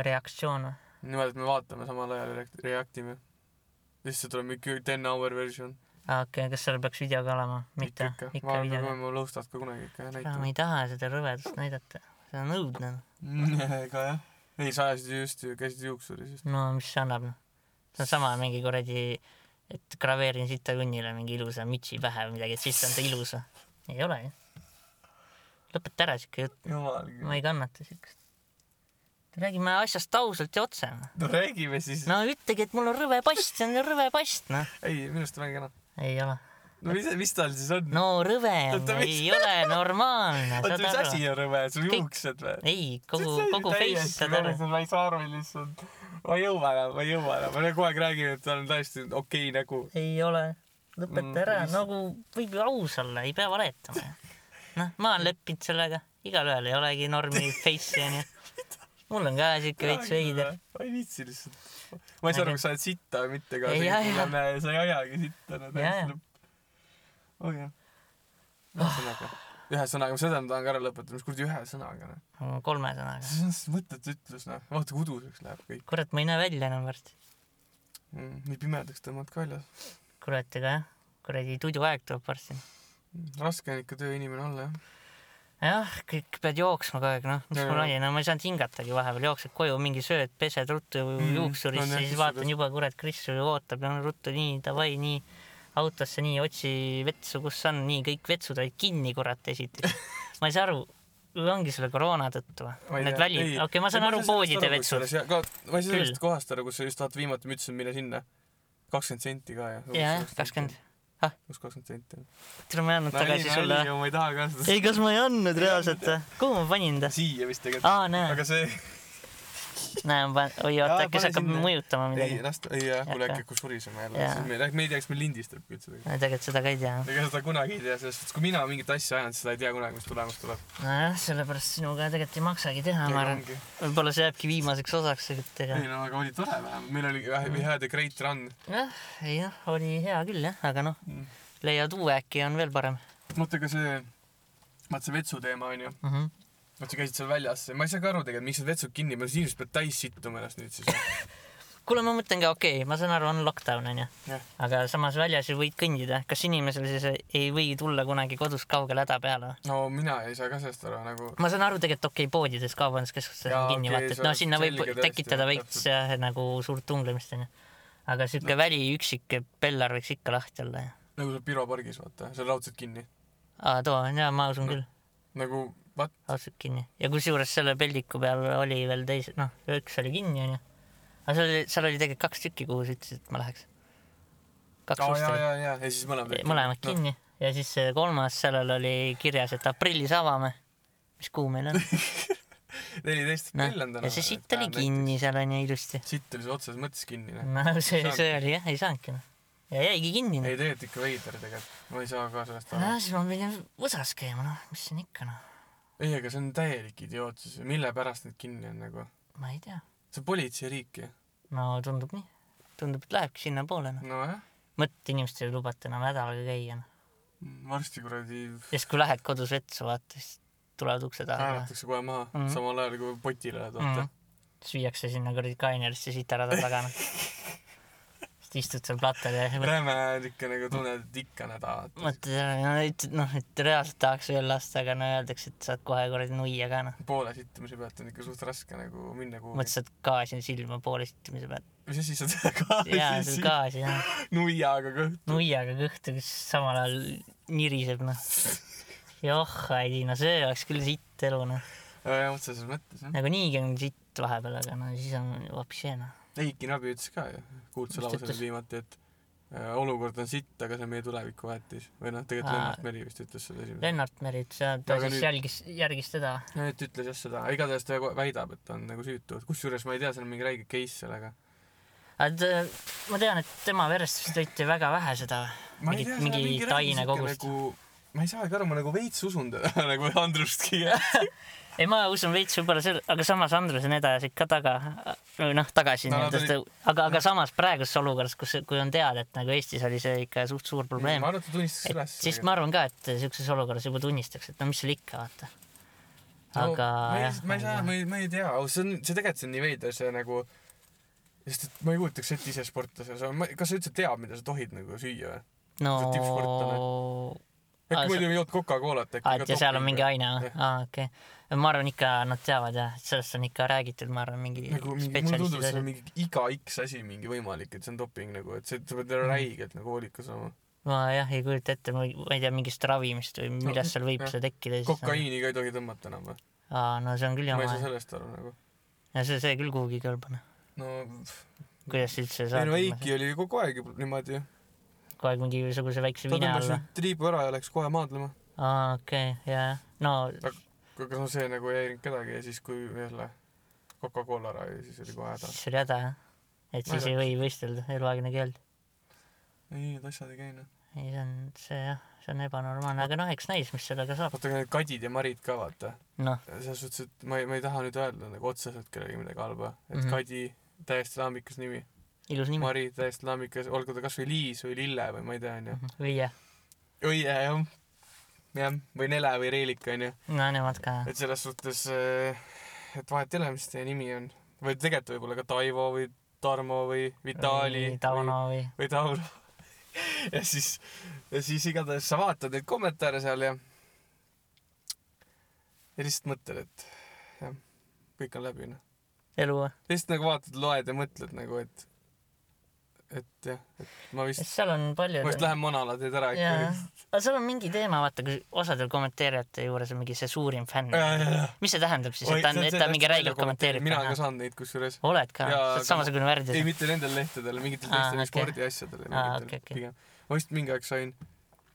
reaktsioon või ?
niimoodi , et me vaatame samal ajal ja react- react ime . lihtsalt tuleb mingi ten hour version .
aa okei okay, , kas seal peaks video ka olema ? mitte ,
ikka ,
ikka
ma arvan , et me
videoga .
peame lõustad ka kunagi ikka jah
ma ei taha seda rõvedust näidata , see on õudne . noh.
näitama . ega jah . ei , sa ajasid ju just , käisid juuksuris just .
no mis see annab , noh . see on sama mingi kuradi , et graveerin sitakunnile mingi ilusa mütsi pähe või midagi , et siis on ta ilus või ? ei ole ju . lõpeta ära siuke jutt ,
jumal
ma
küll .
ei kannata siukest . räägime asjast ausalt ja otse . noh.
no räägime siis .
no ütlegi , et mul on rõve past , see on rõve past , noh .
ei , minu arust on väga kena .
ei ole .
no mis , mis tal siis on ?
no rõve on
Oota, , mis-
ei ole normaalne ,
oota ,
saad
mis
aru
asi . on rõve , sul
Kõik-
juuksed või ?
ei , kogu , kogu face , saad aru .
ma ei saa aru , lihtsalt . ma ei jõua enam , ma ei jõua enam , ma kogu aeg räägin , et tal on täiesti okei nägu .
ei ole .
Mm,
lõpeta ära
mis-
mm, , nagu võib ju aus olla , ei pea valetama . noh , ma olen leppinud sellega , igalühel ei olegi normi face'i onju . mul on ka siuke veits veider ..
ma ei viitsi lihtsalt . ma ei saa aru , kas sa oled sitta või mitte ka .
Ei aja.
sa ei ajagi sitta , no
Jaa. Ah.
täiesti lõpp . oh jah . ühesõnaga , ühesõnaga , seda ma tahan ka ära lõpetada , mis kuradi ühesõnaga , noh .
kolme sõnaga .
see on lihtsalt mõttetu ütlus , noh . vaata , kui uduseks läheb kõik .
kurat , ma ei näe välja enam varsti .
nii pimedaks tõmbad ka väljas .
kurat , ega jah , kuradi tuduaeg tuleb varsti .
Mm, raske on ikka tööinimene olla , jah .
jah , kõik pead jooksma kogu aeg , noh , mis
Jaa.
mul oli , no ma ei saanud hingatagi vahepeal , jooksed koju , mingi sööd , pesed ruttu
Mm,
juuksurisse
on jah, ,
siis
siis
vaatan
seda-
juba , kurat , Krissu ootab ja no ruttu nii , davai nii . autosse nii , otsi vetsu , kus on , nii kõik vetsud olid kinni , kurat , esiteks . ma ei saa aru , ongi selle koroona tõttu või ? Need väli , okei okay, , ma saan aru poodide vetsud .
ma ei saa
Küll.
sellest kohast aru , kus sa just vaata viimati ma ütlesin , mine sinna . kakskümmend senti ka ja .
jah , kakskümmend .. Ah.
kus kakskümmend senti on ?
tule , ma ei andnud tagasi sulle .
ma ei taha ka seda .
ei , kas ma ei andnud reaalselt või ? kuhu ma panin ta ?
siia vist tegelikult .
aa , näe ,
aga see ,
näe , ma , oi ,
Jaa,
oota , äkki
pane
see hakkab
sinna.
mõjutama
ei
midagi .
las ta , ei jah , kuule
Jäta.
äkki hakkab surisema jälle
Jaa. .
me ei tea , me ei tea , kas meil lindistabki üldse või ?
tegelikult seda ka ei tea .
ega seda kunagi ei tea , selles suhtes , kui mina mingit asja ajan , siis seda ei tea kunagi , mis tulemus tuleb .
nojah , sellepärast sinuga tegelikult ei maksagi teha , ma arvan . võib-olla see jääbki viimaseks osaks , et ega
ei . no aga oli tore vähemalt , meil oli
Mm.
We had a great run .
jah , ei noh , oli hea küll jah , aga noh
Mm. ,
leiad uue äkki on veel parem
vaata ka see , vaata see vetsu teema onju ,
mm . -hmm.
vaata sa käisid seal väljas , ma ei saa ka aru tegelikult , miks need vetsud kinni , ma sisuliselt pean täis sittuma ennast nüüd siis .
kuule , ma mõtlen ka , okei okay, , ma saan aru , on lockdown onju
Jah. ,
aga samas väljas ju võid kõndida , kas inimesel siis ei või tulla kunagi kodust kaugele häda peale või ?
no mina ei saa ka sellest aru nagu ,
ma saan aru tegelikult okei okay, , poodides , kaubanduskeskustes
Jaa,
on kinni
okei,
okay, vaata , et
see
no
on
sinna võib
selge tõesti,
tekitada
jah,
veits jah, nagu suurt tunglemist onju . aga siuke no. väliüksik pellar võiks ikka lahti olla ju .
nagu seal Piro pargis vaata , seal raudselt kinni .
aa , too on jaa , ma usun
No.
küll ,
nagu vaat ,
ausalt kinni . ja kusjuures selle peldiku peal oli veel teise , noh , üks oli kinni onju . aga seal oli , seal oli tegelikult kaks tükki , kuhu sa ütlesid , et ma läheks . kaks
aa
ust
ja ,
oli .
ja , ja , ja siis mõlemad .
mõlemad . kinni ja siis see kolmas , sellel oli kirjas , et aprillis avame . mis kuu meil on ?
neliteist kell on
noh ,
täna .
ja see sitt oli . kinni Mm. seal onju ilusti .
sitt oli see otseses mõttes kinni . noh.
no see ,
saanudki.
see oli jah , ei saanudki noh . ja jäigi kinni noh .
ei tegelikult ikka veider tegelikult , ma ei saa ka sellest aru
no . siis ma pidin USA-s käima noh , mis siin ikka noh ,
ei , aga see on täielik idiootsus , mille pärast need kinni on nagu ,
ma ei tea .
see on politseiriik ju ,
no tundub nii , tundub , et lähebki sinnapoole noh .
nojah
mõtle , inimestel ei lubata enam nädalaga käia noh .
varsti kuradi
ja siis , kui lähed kodus vetsu vaata , siis tulevad ukse taha
hääletakse kohe maha mm ,
Mhm.
-hmm. samal ajal kui potile oled ,
mm .
vaata
-hmm. siis viiakse sinna kuradi kainerisse sitarada taga noh . siis istud seal platel ja
mm .
mõtled ,
räme ikka nagu tunned , et ikka näda , vaata .
et noh , et reaalselt tahaks veel lasta , aga no öeldakse , et saad kohe kuradi nuia ka noh .
poole sittumise pealt on ikka suht raske nagu minna kuhugi .
mõtlesid , et gaasi on silma poole sittimise pealt .
mis asi sa teed ka
jaa , see on gaasi jah .
nuiaga kõhtu .
nuiaga kõhtu , kes samal ajal niriseb , noh . joh , Heidi , no see oleks küll sitt elu , noh .
otseses mõttes jah .
nagu niigi on sitt vahepeal , aga no siis on hoopis see , noh .
Heiki Nabi ütles ka ju , kuulsa
Mis ta
lause
ütles?
veel viimati , et äh, olukord on sitt , aga see on meie tuleviku väetis . või noh , tegelikult
Aa.
Lennart Meri vist ütles seda esimesena .
Lennart Meri ütles ja ta
Aga
siis
nüüd-
jälgis , järgis teda .
jah , et ütles jah seda , igatahes ta kohe väidab , et ta on nagu süütu , kusjuures ma ei tea , seal on mingi räige case sellega .
ma tean , et tema verest vist võeti väga vähe seda .
ma ei
Mingi-
tea , seal on
mingi
mingi
taine
taine
kogust.
kogust nagu... ma ei saagi aru , ma nagu veits usun teda nagu Andrustki .
ei , ma usun veits võib-olla selle , aga samas Andrus on edasi ikka taga , noh , tagasi
No
no,
nad
nii-öelda seda , aga , aga samas praeguses olukorras , kus , kui on teada , et nagu Eestis oli see ikka suht suur
ma
probleem .
arvan , et ta tunnistas
et
üles .
siis ma arvan ka , et siukses olukorras juba tunnistaks , et no mis seal ikka , vaata . aga
ma ei
jah ,
ma ei saa , ma ei , ma ei tea , see on , see tegelikult see on nii veider , see nagu , sest et ma ei kujutaks ette ise sportlase , kas sa üldse tead , mida sa tohid nagu süüa või ?
no
see on tippsportlane. .
Aa,
äkki
sa-
muidu ei jood Coca-Colat äkki .
aa , et ja seal on mingi aine ,
Jah.
aa okei okay. . ma arvan ikka nad teavad jah , sellest on ikka räägitud , ma arvan mingi
nagu mingi , mulle tundub , et
spetsialistid
seal on
asjad .
mingi iga X asi mingi võimalik , et see on doping nagu , et see , sa pead
Mhm.
olema räigelt nagu hoolikas olema .
ma jah ei kujuta ette , ma ei ma ei tea mingist ravimist või millest seal võib
jah.
see tekkida .
kokaiini ka ei tohi tõmmata enam või ?
aa , no see on küll
ma ei
jama
saa , sellest aru nagu .
no see , see küll kuhugi ei kõlba noh .
no ,
kuidas sa üldse
ei
saad
no Heiki oli ju kogu aeg ju niimoodi ju .
kogu aeg mingisuguse väikse
ta
vine
tõmbas
alla
nüüd . triibu ära ja läks kohe maadlema .
aa okei okay, , jajah , no
aga no see nagu ei häirinud kedagi ja siis , kui jälle Coca-Cola ära ja siis oli kohe häda .
siis oli häda jah . et
Ma ei
siis ei või võistelda , eluaegne keeld .
ei , need asjad ei käi noh .
ei , see on see jah , see on ebanormaalne , aga noh , eks näis , mis sellega saab .
vaata , aga need Kadid ja Marid ka vaata .
noh ,
selles suhtes , et ma ei , ma ei taha nüüd öelda nagu otseselt kellelegi midagi halba . et mm
Mhm.
-hmm. Kadi , täiesti laamikas nimi .
ilus nimi .
Mari , täiesti laamikas , olgu ta kasvõi Liis või Lille või ma ei tea , onju .
viie ,
õie jah . jah , või Nele või Reelik , onju .
no nemad ka jah .
et selles suhtes , et vahet ei ole , mis teie nimi on . või tegelikult võib-olla ka Taivo või Tarmo või Vitali .
Tauno või ,
või Tauno . ja siis , ja siis igatahes sa vaatad neid kommentaare seal ja ja lihtsalt mõtled , et jah , kõik on läbi noh .
elu või ?
lihtsalt nagu vaatad , loed ja mõtled nagu , et et jah , et ma vist ,
seal on palju .
ma vist lähen manala teed ära
jaa
ikka .,
aga seal on mingi teema , vaata , kui osadel kommenteerijate juures on mingi see suurim fänn . mis see tähendab siis , et ta on , et ta mingi räigelt kommenteerib ?
nagu mina ka saan neid kusjuures .
oled ka ,
Jaa,
sa
aga-
oled samasugune värd
ei , mitte nendel lehtedel , mingitel
Aa,
teistel
okei.
spordiasjadel ja
Aa,
mingitel
okei, okei.
pigem . ma vist mingi aeg sain ,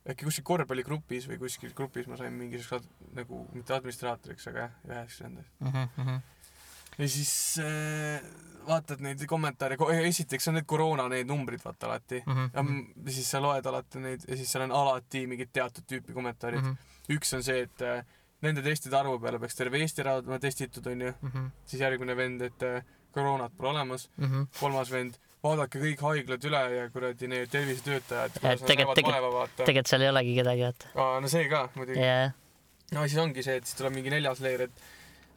äkki kuskil korvpalligrupis või kuskil grupis ma sain mingisuguseks ad- nagu mitte administraatoriks , aga jah , üheks nendest .
Mhm, ju .
ja siis äh, vaatad neid kommentaare , esiteks on need koroona need numbrid vaata alati .
Mm. mhm,
ja m- siis sa loed alati neid ja siis seal on alati mingid teatud tüüpi kommentaarid .
Mhm,
üks on see , et äh, nende testide arvu peale peaks terve Eesti ära olema testitud , onju .
mhm,
siis järgmine vend , et äh, koroonat pole olemas . kolmas vend , vaadake kõik haiglad üle ja kuradi need tervisetöötajad , kuidas nad
tegelikult-
näevad
tegelikult-
vaeva , vaata .
tegelikult seal ei olegi kedagi , vaata .
aa , no see ka muidugi .
jaa ,
no siis ongi see , et siis tuleb mingi neljas leer , et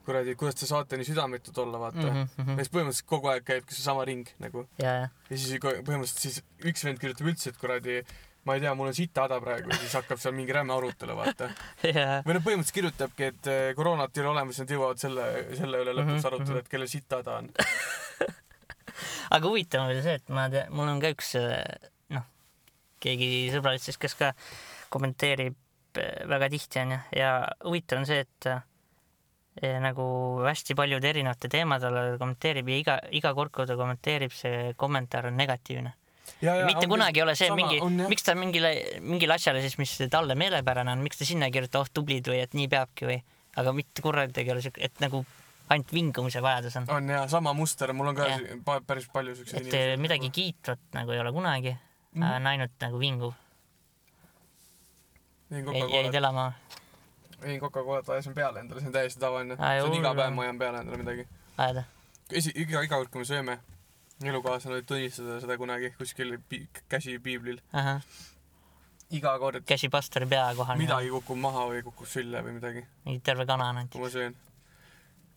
kuradi , kuidas te saate nii südametud olla , vaata mm . -hmm. ja
jaa ,
siis põhimõtteliselt kogu aeg käibki seesama ring nagu .
Mhm, jaa .
ja siis ko- põhimõtteliselt siis üks vend kirjutab üldse , et kuradi , ma ei tea , mul on sita häda praegu ja siis hakkab seal mingi räme arutelu , vaata .
jaa ,
või noh , põhimõtteliselt kirjutabki , et eh, koroonat ei ole olemas , nad jõuavad selle , selle üle lõpuks
Mhm,
arutada , et kellel sita häda on .
aga huvitav on veel see , et ma tean , mul on ka üks äh, noh , keegi sõbra ütles , kes ka kommenteerib äh, väga tihti onju ja huvitav on see , et äh, eh, nagu hästi paljude erinevate teemade all kommenteerib ja iga , iga kord , kui ta kommenteerib , see kommentaar on negatiivne . mitte kunagi ei ole see sama, mingi , miks ta mingile , mingile asjale siis , mis talle meelepärane on , miks ta sinna ei kirjuta , oh tublid või et nii peabki või , aga mitte kuradi ei ole siuke , et nagu ainult vingumise vajadus on .
on jaa , sama muster , mul on ka
Jah.
si- pa- päris palju siukseid
et eh, midagi kiitvat nagu ei ole kunagi
Mhm.
mm , -hmm. on ainult nagu vinguv ,
jõin
jäid
Coca-Colat ,
elama .
jõin Coca-Colat , ajasin peale endale , see on täiesti tavaline .
Aa,
see on
hull
iga päev
on.
ma ajan peale endale midagi .
ajada ,
esi , iga , iga kord , kui me sööme , elukaaslane võib tunnistada seda kunagi kuskil pi- , käsi piiblil .
ahah ,
iga kord ,
käsi pastori pea kohal .
midagi kukub maha või kukub sülle või midagi ,
mingi terve kana on
kui
ainult .
ma söön .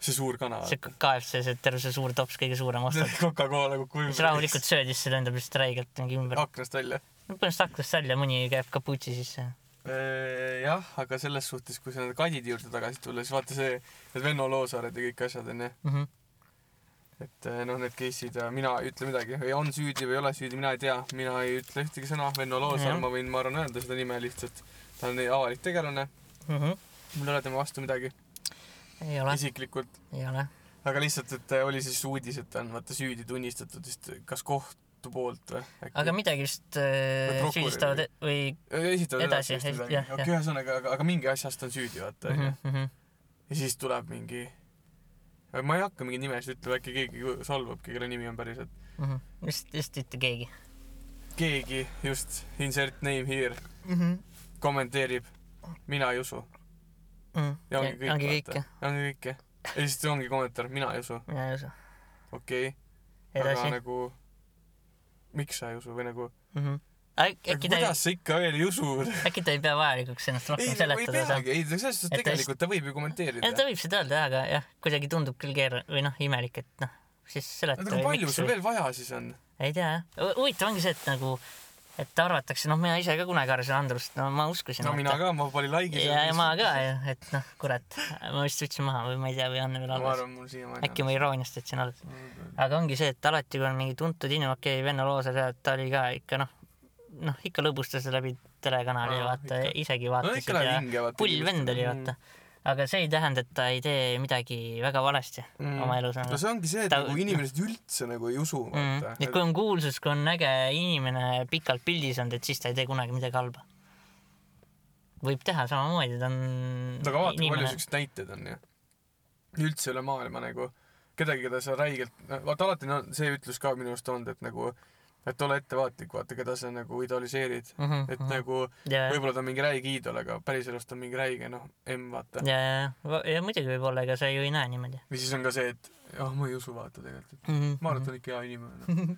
see suur kana .
see KFC , see terve see suur tops , kõige suurem osta .
Coca-Cola kukub
siis rahulikult sööd ja siis see lendab lihtsalt räigelt mingi ümber .
aknast välja .
põhimõtteliselt aknast välja , mõni käib kaputsi sisse .
Äh, jah , aga selles suhtes , kui sa nende kadide juurde tagasi tulla , siis vaata see , need Venno Loosaared ja kõik asjad onju .
Mhm.
et eh, noh , need case'id ja mina ei ütle midagi , või on süüdi või ei ole süüdi , mina ei tea , mina ei ütle ühtegi sõna , Venno Loosaar ,
Jah.
ma võin , ma arvan , öelda seda nime lihtsalt . ta on avalik tegelane , mul ei ole tema vastu midagi
Mhm. ei ole ,
isiklikult ,
ei ole .
aga lihtsalt , et eh, oli siis uudis , et ta on vaata süüdi tunnistatud vist äh, kas kohtu poolt või
aga
äkki .
midagi vist äh,
Või
süüdistavad e- või
esitavad
edasi,
edasi vist
esi-
midagi
jah, , Mhm.
okei ,
jah.
ühesõnaga , aga , aga mingi asjast on süüdi , vaata onju .
mhmh,
ja siis tuleb mingi , ma ei hakka mingeid nimesid ütlema , äkki keegi solvab , kelle nimi on päriselt .
mhmh. mhm. vist , vist mitte keegi .
keegi just , insert name here , Mhm. kommenteerib , mina ei usu ja ongi kõik .
Mhm. ongi kõik jah ,.
ongi kõik jah . ja siis ongi kommentaar , mina ei usu ,
mina ei usu .
okei okay, , aga
edasi .
nagu miks sa ei usu või nagu ,
Mhm. äkki ta ei
kuidas sa ikka veel ei usu ?
äkki ta ei pea vajalikuks ennast
ei
rohkem ,
nagu ei
seletada seal .
peagi , ei selles suhtes
Et ta
tegelikult ta võib ju kommenteerida .
ta võib seda öelda jah , aga jah , kuidagi tundub küll keeruline või noh , imelik , et noh , siis seleta .
nagu palju sul ? veel vaja siis on ?
ei tea jah , huvitav ongi see , et nagu , et arvatakse , noh , mina ise ka kunagi arvasin Andrust , no ma uskusin .
no mina . ka , ma panin like'i .
ja , ja ma ka ju , et noh , kurat , ma vist võtsin maha või ma ei tea , või Anne veel
ma
alles .
arvan , mul siiamaani .
äkki ma irooniast võtsin alles .
ma .
aga ongi see , et alati , kui on mingi tuntud inimene , okei okay, , Venno Loosaar ja ta oli ka ikka noh , noh ikka lõbustas läbi telekanali
Aa,
ja vaata
ikka. ,
isegi
no
vaatasid
ikka läheb
ja
hinge vaata .
pull vend oli vaata . aga see ei tähenda , et ta ei tee midagi väga valesti mm. oma elus .
no see ongi see , et
Ta-
nagu inimesed üldse nagu ei usu ,
Mm.
vaata .
et kui on kuulsus , kui on äge inimene pikalt pildis olnud , et siis ta ei tee kunagi midagi halba . võib teha samamoodi , ta on
aga vaata , kui palju
inimene .
siukseid näiteid on ju . üldse üle maailma nagu kedagi , keda sa räigelt , vaata alati on see ütlus ka minu arust olnud , et nagu , et ole ettevaatlik , vaata , keda sa nagu idoliseerid . et nagu
Mhm, ja , ja ,
võib-olla ta on mingi räige iidol , aga päriselus ta on mingi räige , noh , M vaata .
ja , ja , ja muidugi võib-olla , ega sa ju ei näe niimoodi
või siis on ka see , et ah , ma ei usu vaata tegelikult , et
mm .
ma arvan , et ta on ikka hea inimene no. .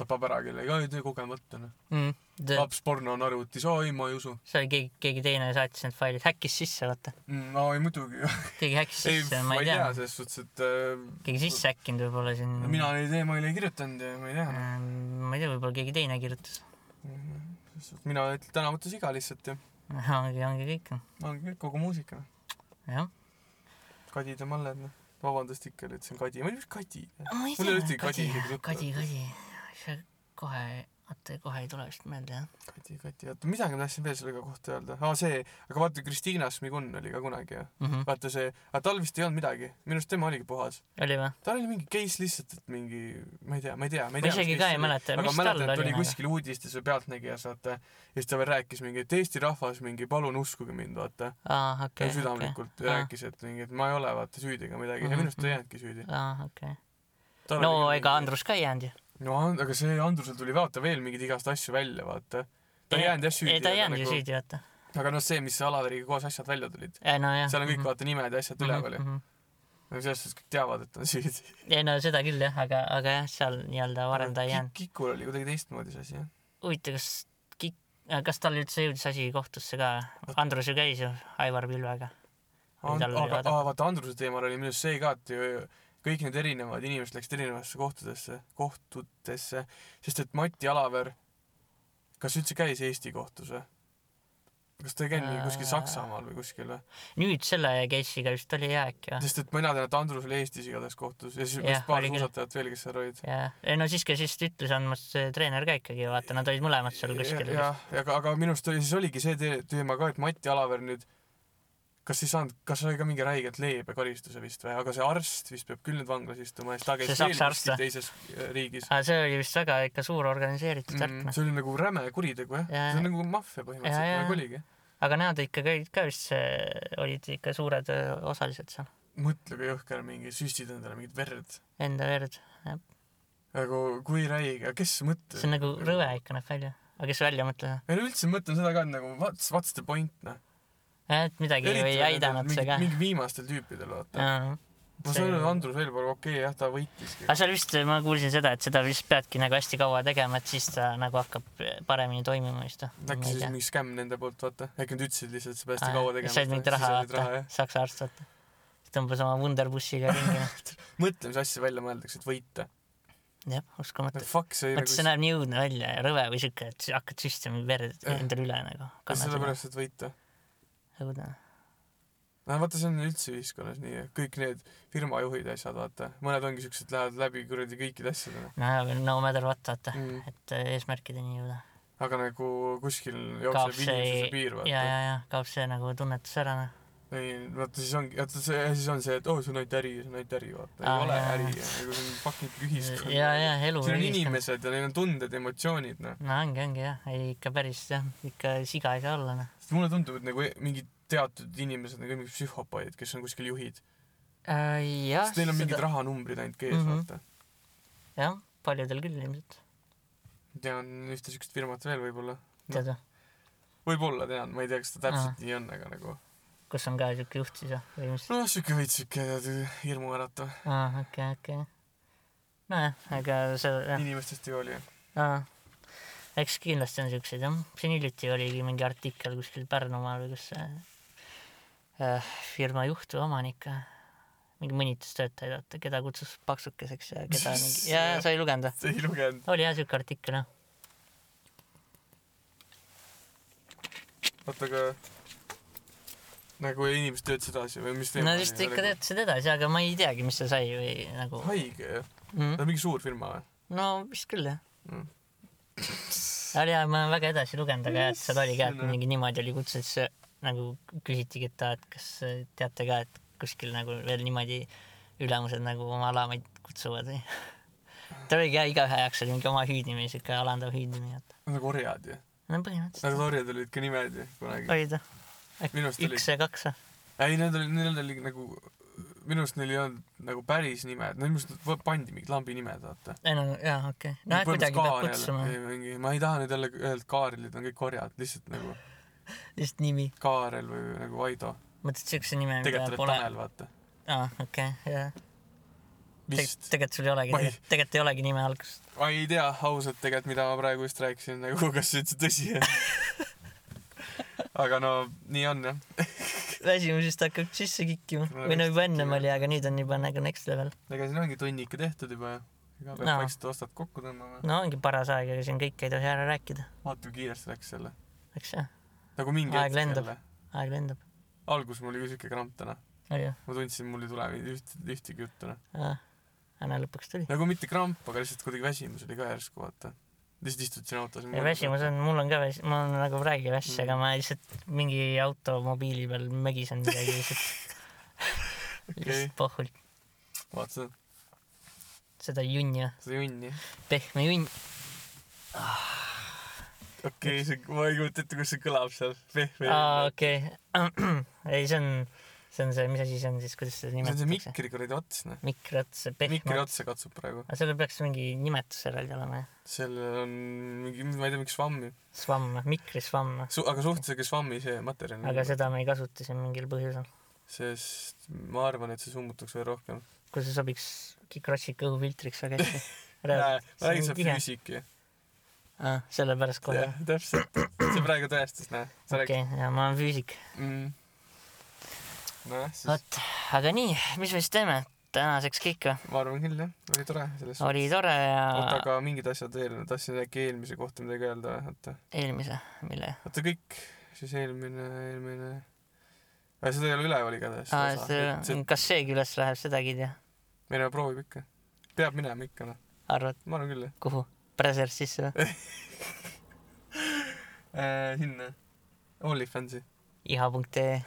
tapab ära kellegi , ei tee kogemata noh .
mm. . see
laps porno on arvutis , aa ei , ma ei usu .
oli keegi , keegi teine saatis need failid , häkkis sisse , vaata .
aa ei Mm, muidugi ,
keegi häkkis
ei
sisse ,
ma ei tea , selles suhtes , et äh,
keegi sisse häkkinud võib-olla siin .
mina neid emaili ei kirjutanud ja ma ei tea noh .
ma ei tea , võib-olla keegi teine kirjutas .
mina ütlen tänavates iga lihtsalt ja
ongi , ongi kõik ,
ongi kõik kogu muusika noh .
jah .
kadid ja malled noh . vabandust ikka , et see on kadi , ma ei tea , mis kadi .
ma ei
Mul ei
tea
ole ühtegi , kadi
kadi
isegi , tuttavat.
kadi , kadi , see kohe , oota kohe ei tule vist meelde jah .
Kati , Kati , oota , midagi ma tahtsin veel selle kohta öelda . aa , see , aga vaata , Kristiina Šmigun oli ka kunagi ju .
Mhm.
vaata see , aga tal vist ei olnud midagi . minu arust tema oligi puhas .
oli või ?
tal oli mingi case lihtsalt , et mingi , ma ei tea , ma ei tea , ma ei
ma
tea .
isegi ka ei mäleta ,
aga
mis tal
mäletan , et
oli nagu?
oli . kuskil uudistes või Pealtnägijas , vaata , ja siis ta veel rääkis mingi , et Eesti rahvas mingi palun uskuge mind , vaata
aa ,
okay, .
okei , okei .
südamlikult okay.
Aa.
rääkis , et mingi , et ma ei ole vaata süüdi ega midagi ja
Mhm,
minu arust ta
mhm.
ei jäänudki süüdi .
aa , okei . no ega . Andrus ka ei jäänud ju .
no And- aga see Andrusel tuli vaata veel mingeid igast asju välja , vaata . ta ei jäänud jah süüdi . nagu-
ei , ta ei jäänud ju . süüdi , Mhm. vaata .
aga noh , see , mis Alariga koos asjad välja tulid ,
nojah .
seal on kõik vaata nimed ja asjad üleval ju .
ju .
aga selles suhtes kõik teavad , et ta on süüdi .
mhm. ei no seda küll jah , aga , aga jah , seal nii-öelda varem ta ei jäänud .
Kikul oli kuidagi teistmoodi see asi jah .
huvitav , kas Kik- , kas tal üldse jõudis asi kohtusse ka ? Andrus ju käis ju Aivar Pilvega . Või tal oli
aga ,
vaadata?
aga vaata Andruse teemal oli minu arust see ka , et ju kõik need erinevad inimesed läksid erinevatesse kohtadesse , kohtutesse , sest et Mati Alaver , kas üldse käis Eesti kohtus või ? kas ta ei käinud mingi kuskil
Äh.
Saksamaal või kuskil või ?
nüüd selle case'iga vist oli jääk ju .
sest et mina tean , et Andrus oli Eestis igatahes kohtus ja siis
Jah,
vist paar
oli küll.
suusatajat veel , kes seal olid .
jah , ei no siis , kes vist ütles andmas see treener ka ikkagi , vaata , nad olid mõlemad seal kuskil .
jah , aga , aga minu arust oli , siis oligi see tee- teema ka , et Mati Alaver nüüd kas ei saanud , kas oli ka mingi räigelt leebe karistuse vist või , aga see arst vist peab küll nüüd vanglas istuma , sest ta käis
See
veel
saksa arst
kuskil
või?
teises äh, riigis .
aga Ah, see oli vist väga ikka suur organiseeritud värk
mm, .
mm. .
see oli nagu räme kuritegu jah ja, ,
Jaa.
see on nagu maffia põhimõtteliselt
Jaa,
ja,
jaa.
nagu oligi .
aga nad ikka käid ka vist , olid ikka suured öö, osalised seal ,
mõtle , kui jõhker mingi , süstid endale mingit verd .
enda verd .
nagu kui räige , kes mõtleb
see on ? nagu rõve ikka näeb välja . aga kes välja mõtleb ,
ei no üldse mõtlen seda ka , et nagu what's , what's the point noh .
et midagi ei aidanud see ka .
mingi viimastel tüüpidel vaata .
aga
ma saan aru , et Andrus Veelpalu okei okay, jah , ta võitiski .
seal vist ma kuulsin seda , et seda vist peadki nagu hästi kaua tegema , et siis ta nagu hakkab paremini toimima vist noh. või
äkki siis mingi skämm nende poolt vaata , äkki nad ütlesid lihtsalt , et sa pead seda kaua tegema .
Ah, said mingit raha , vaata , saksa arst , vaata . tõmbas oma Wunderbussiga ringi . noh.
mõtle , mis asja välja mõeldakse , et võita .
jah , uskumatu .
Fuck , see
mõtle , see
nagu ,
näeb nii õudne välja ja rõve või siuke , et sa hakkad süstima verd
Jah.
endale üle nagu .
sellepärast , et võita .
õudne .
no vaata , see on üldse ühiskonnas nii , kõik need firmajuhid ja asjad , vaata , mõned ongi siuksed , lähevad läbi kuradi kõikide asjadega
nojah , no matter what , vaata ,
mm. .
et äh, eesmärkideni jõuda .
aga nagu kuskil
Kaob
jookseb
see-
inimsuse piir ,
ja ,
vaata .
ja , ja kaob see nagu tunnetus ära .
ei , vaata siis ongi , vaata see , siis on see , et oo , see on ainult äri , see on ainult äri , vaata .
Aa,
ei ole
jaa.
äri , nagu see on fucking ühiskond .
ja , ja elu .
siin on . inimesed ja neil on tunded , emotsioonid , noh .
no ongi , ongi jah , ei ikka päris jah , ikka siga ei saa olla noh .
sest mulle tundub , et nagu mingid teatud inimesed on ka mingid psühhopaadid , kes on kuskil juhid .
jah ,
sest neil on mingid rahanumbrid ainult ees ,
Ah, Mhm.
vaata .
jah , paljudel küll ilmselt ,
tean ühte siukest firmat veel võib-olla .
tead või ,
võib-olla tean , ma ei tea , kas ta täpselt
Ah.
nii on , aga nagu
kus on ka siuke juht siis või , või mis ?
noh , siuke veits siuke hirmuäratav ,
aa , okei , okei . nojah , aga see jah ,
inimestest ei hooli .
aa . eks kindlasti on siukseid jah , siin hiljuti oligi mingi artikkel kuskil Pärnumaal või kus see äh, firma juht või omanik äh, mingi mõnitas töötajaid , vaata , keda kutsus paksukeseks ja keda mingi , jaa , sa ei lugenud või ?
ei lugenud ,
oli jah siuke artikkel jah .
oota aga nagu inimesed töötasid edasi või mis
no vist
nagu
ikka . töötasid edasi , aga ma ei teagi , mis see sai või nagu
haige jah , ta
mm. .
on mingi suur firma või ?
no vist küll jah
Mm.
mm. . oli hea , ma olen väga edasi lugenud , aga jah , et seal oli ka , et
Issand, jah.
mingi niimoodi oli kutses , nagu küsitigi , et aa , et kas äh, teate ka , et kuskil nagu veel niimoodi ülemused nagu oma alamaid kutsuvad või ? ta oligi jah , igaühe jaoks oli mingi oma hüüdnimi , siuke alandav hüüdnimi , et
Nad on nagu orjad ju ,
no põhimõtteliselt
nad orjad olid ka nimed ju kunagi .
oli ta .
Minu arust oli-
üks ja kaks või ?
ei , need olid , neil oli nagu , minu arust neil ei olnud nagu päris nimed , no minu arust nad võ- pandi mingid lambi nimed , vaata .
ei no jaa , okei okay. . nojah , kuidagi peab kutsuma ,
mingi , ma ei taha nüüd jälle öelda , et Kaarelid on kõik orjad , lihtsalt nagu
lihtsalt nimi .
Kaarel või nagu Vaido .
mõtled siukse nime , mida
tegelikult
pole
oled ? Tanel , vaata .
aa , okei , jah .
vist .
tegelikult sul ei olegi
Ma ei- ,
tegelikult ei olegi nime algust .
ma ei tea ausalt tegelikult , mida ma praegu just rääkisin , nagu kas see üldse tõsi on . aga no nii on jah .
väsimusest hakkab sisse kikkima
No
või no juba ennem
jah.
oli , aga nüüd on juba nagu next level .
ega siin ongi tunni ikka tehtud juba ju . ega peab
No.
no. vaikselt ostad kokku tõmbama .
no ongi paras aeg , aga siin kõike ei tohi ära rääkida ,
vaata kui kiiresti läks jälle .
eks ju ,
nagu mingi
Aeg lendab. . aeg lendab .
alguses mul oli ka siuke kramp täna .
oli ju ?
ma tundsin , mul ei tule üht , ühtegi juttu noh .
aa , aga lõpuks tuli .
nagu mitte kramp , aga lihtsalt kuidagi väsimus oli ka järsku vaata . lihtsalt istud siin autos .
ja väsimus on , mul on ka väs- , ma olen nagu praegu väss , aga ma lihtsalt mingi automobiili peal mögisen midagi lihtsalt ,
okei
lihtsalt , pohhult .
vaata seda ,
seda junni ,
seda junni .
pehme junn ,
okei , see , ma ei kujuta ette , kus see kõlab seal . pehme .
aa okei , ei see on , see on see , mis asi see on siis , kuidas seda
see on see
nimetatakse ?
mikri kuradi ots , noh .
mikrat , see pehme
mikri , otsa katsub praegu .
aga sellel peaks mingi nimetus eraldi olema ,
sellel on mingi , ma ei tea , miks švammi .
svamm , mikrisvamm ,
Su- , aga suhteliselt švammi see materjal .
aga seda me ei kasuta siin mingil põhjusel ,
sest ma arvan , et see summutaks veel rohkem .
kui see sobiks Kikrossika õhufiltriks väga hästi .
ma räägin
see on
sulle
tihe ,
füüsiki .
Ah, sellepärast kohe ,
jah , täpselt . see praegu tõestas , näe . sa rääkisid .
okei , ja ma olen füüsik .
nojah , siis
vot , aga nii , mis me siis teeme tänaseks kõik või ?
ma arvan küll jah , oli tore selles .
oli tore
oota ,
ja
aga mingid asjad veel , tahtsin äkki eelmise kohta midagi öelda , oota .
eelmise , mille ?
oota kõik , siis eelmine , eelmine . seda ei ole üleval igatahes . see ,
Ah, kas seegi üles läheb , sedagi ei tea ,
meil on proovib ikka . peab minema ikka noh ,
arvad ,
ma arvan küll jah
kuhu ? Brazzers sisse või ?
äh, . sinna . OnlyFansi .
iha.ee ,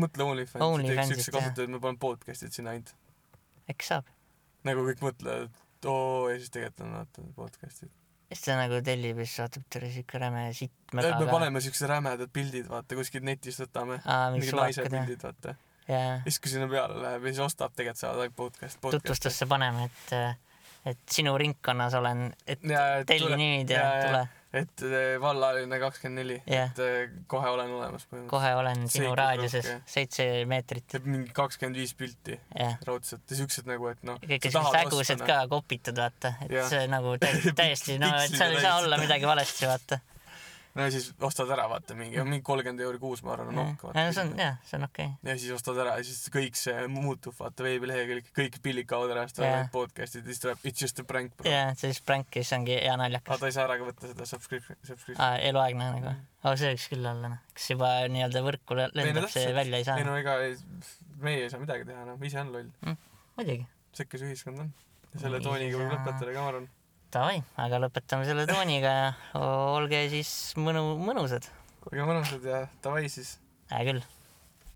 mõtle OnlyFansi , teeks
OnlyFansist,
siukse
jah.
kasutaja , et me paneme podcast'id sinna ainult .
äkki saab ?
nagu kõik mõtlevad , et oo ja siis tegelikult on vaata podcast'id .
siis ta nagu tellib ja siis vaatab , tuli siuke räme sitt
me paneme siuksed rämedad pildid , vaata kuskilt netist võtame .
aa , mingid
mingid naise
suvakad jah ,
pildid , vaata .
jaa .
siis kui sinna peale läheb ja siis ostab , tegelikult saavad ainult podcast, podcast. .
tutvustusse paneme , et , et sinu ringkonnas olen , et
Ja, et
telli
tule-
nimid ja
ja, ja.
tule ,
et eh, vallaline kakskümmend neli ,
jah ,
et eh, kohe olen olemas põhimõtteliselt .
kohe olen sinu
Seiklusrohke.
raadiuses seitse meetrit ,
teeb mingi kakskümmend viis pilti
jah .
raudselt ja siuksed nagu , et noh .
kõik on siuksed hägused ka . kopitud , vaata , et ja.
Jah.
see nagu tä- täiesti , no et seal ei saa
Piksliga
olla midagi valesti , vaata .
no ja siis ostad ära , vaata mingi , mingi kolmkümmend euri kuus , ma arvan , on nokk .
ja see on , Mhm. jah , see on okei okay. .
ja siis ostad ära ja siis kõik see muutub , vaata veebilehekülg , kõik pillid kaovad ära , siis
Jah.
tulevad podcast'id ja siis tuleb It's just a prank . aga
ja see siis prank ja siis ongi hea naljakas .
ta ei saa ära ka võtta seda subscription , subscription .
Ah, eluaegne nagu , aga see võiks küll olla , noh , kas juba nii-öelda võrku le-
Ei, no
lendab see
täpselt.
välja ei
ei
saa ,
no ega ei- meie ei saa midagi teha , noh , ise on loll .
muidugi .
sekkas ühiskond on . ja selle
Ei
tooniga võib
saa.
lõpetada ka , ma arvan .
Davai , aga lõpetame selle tooniga ja olge siis mõnu , mõnusad ,
olge mõnusad ja davai siis .
hea küll .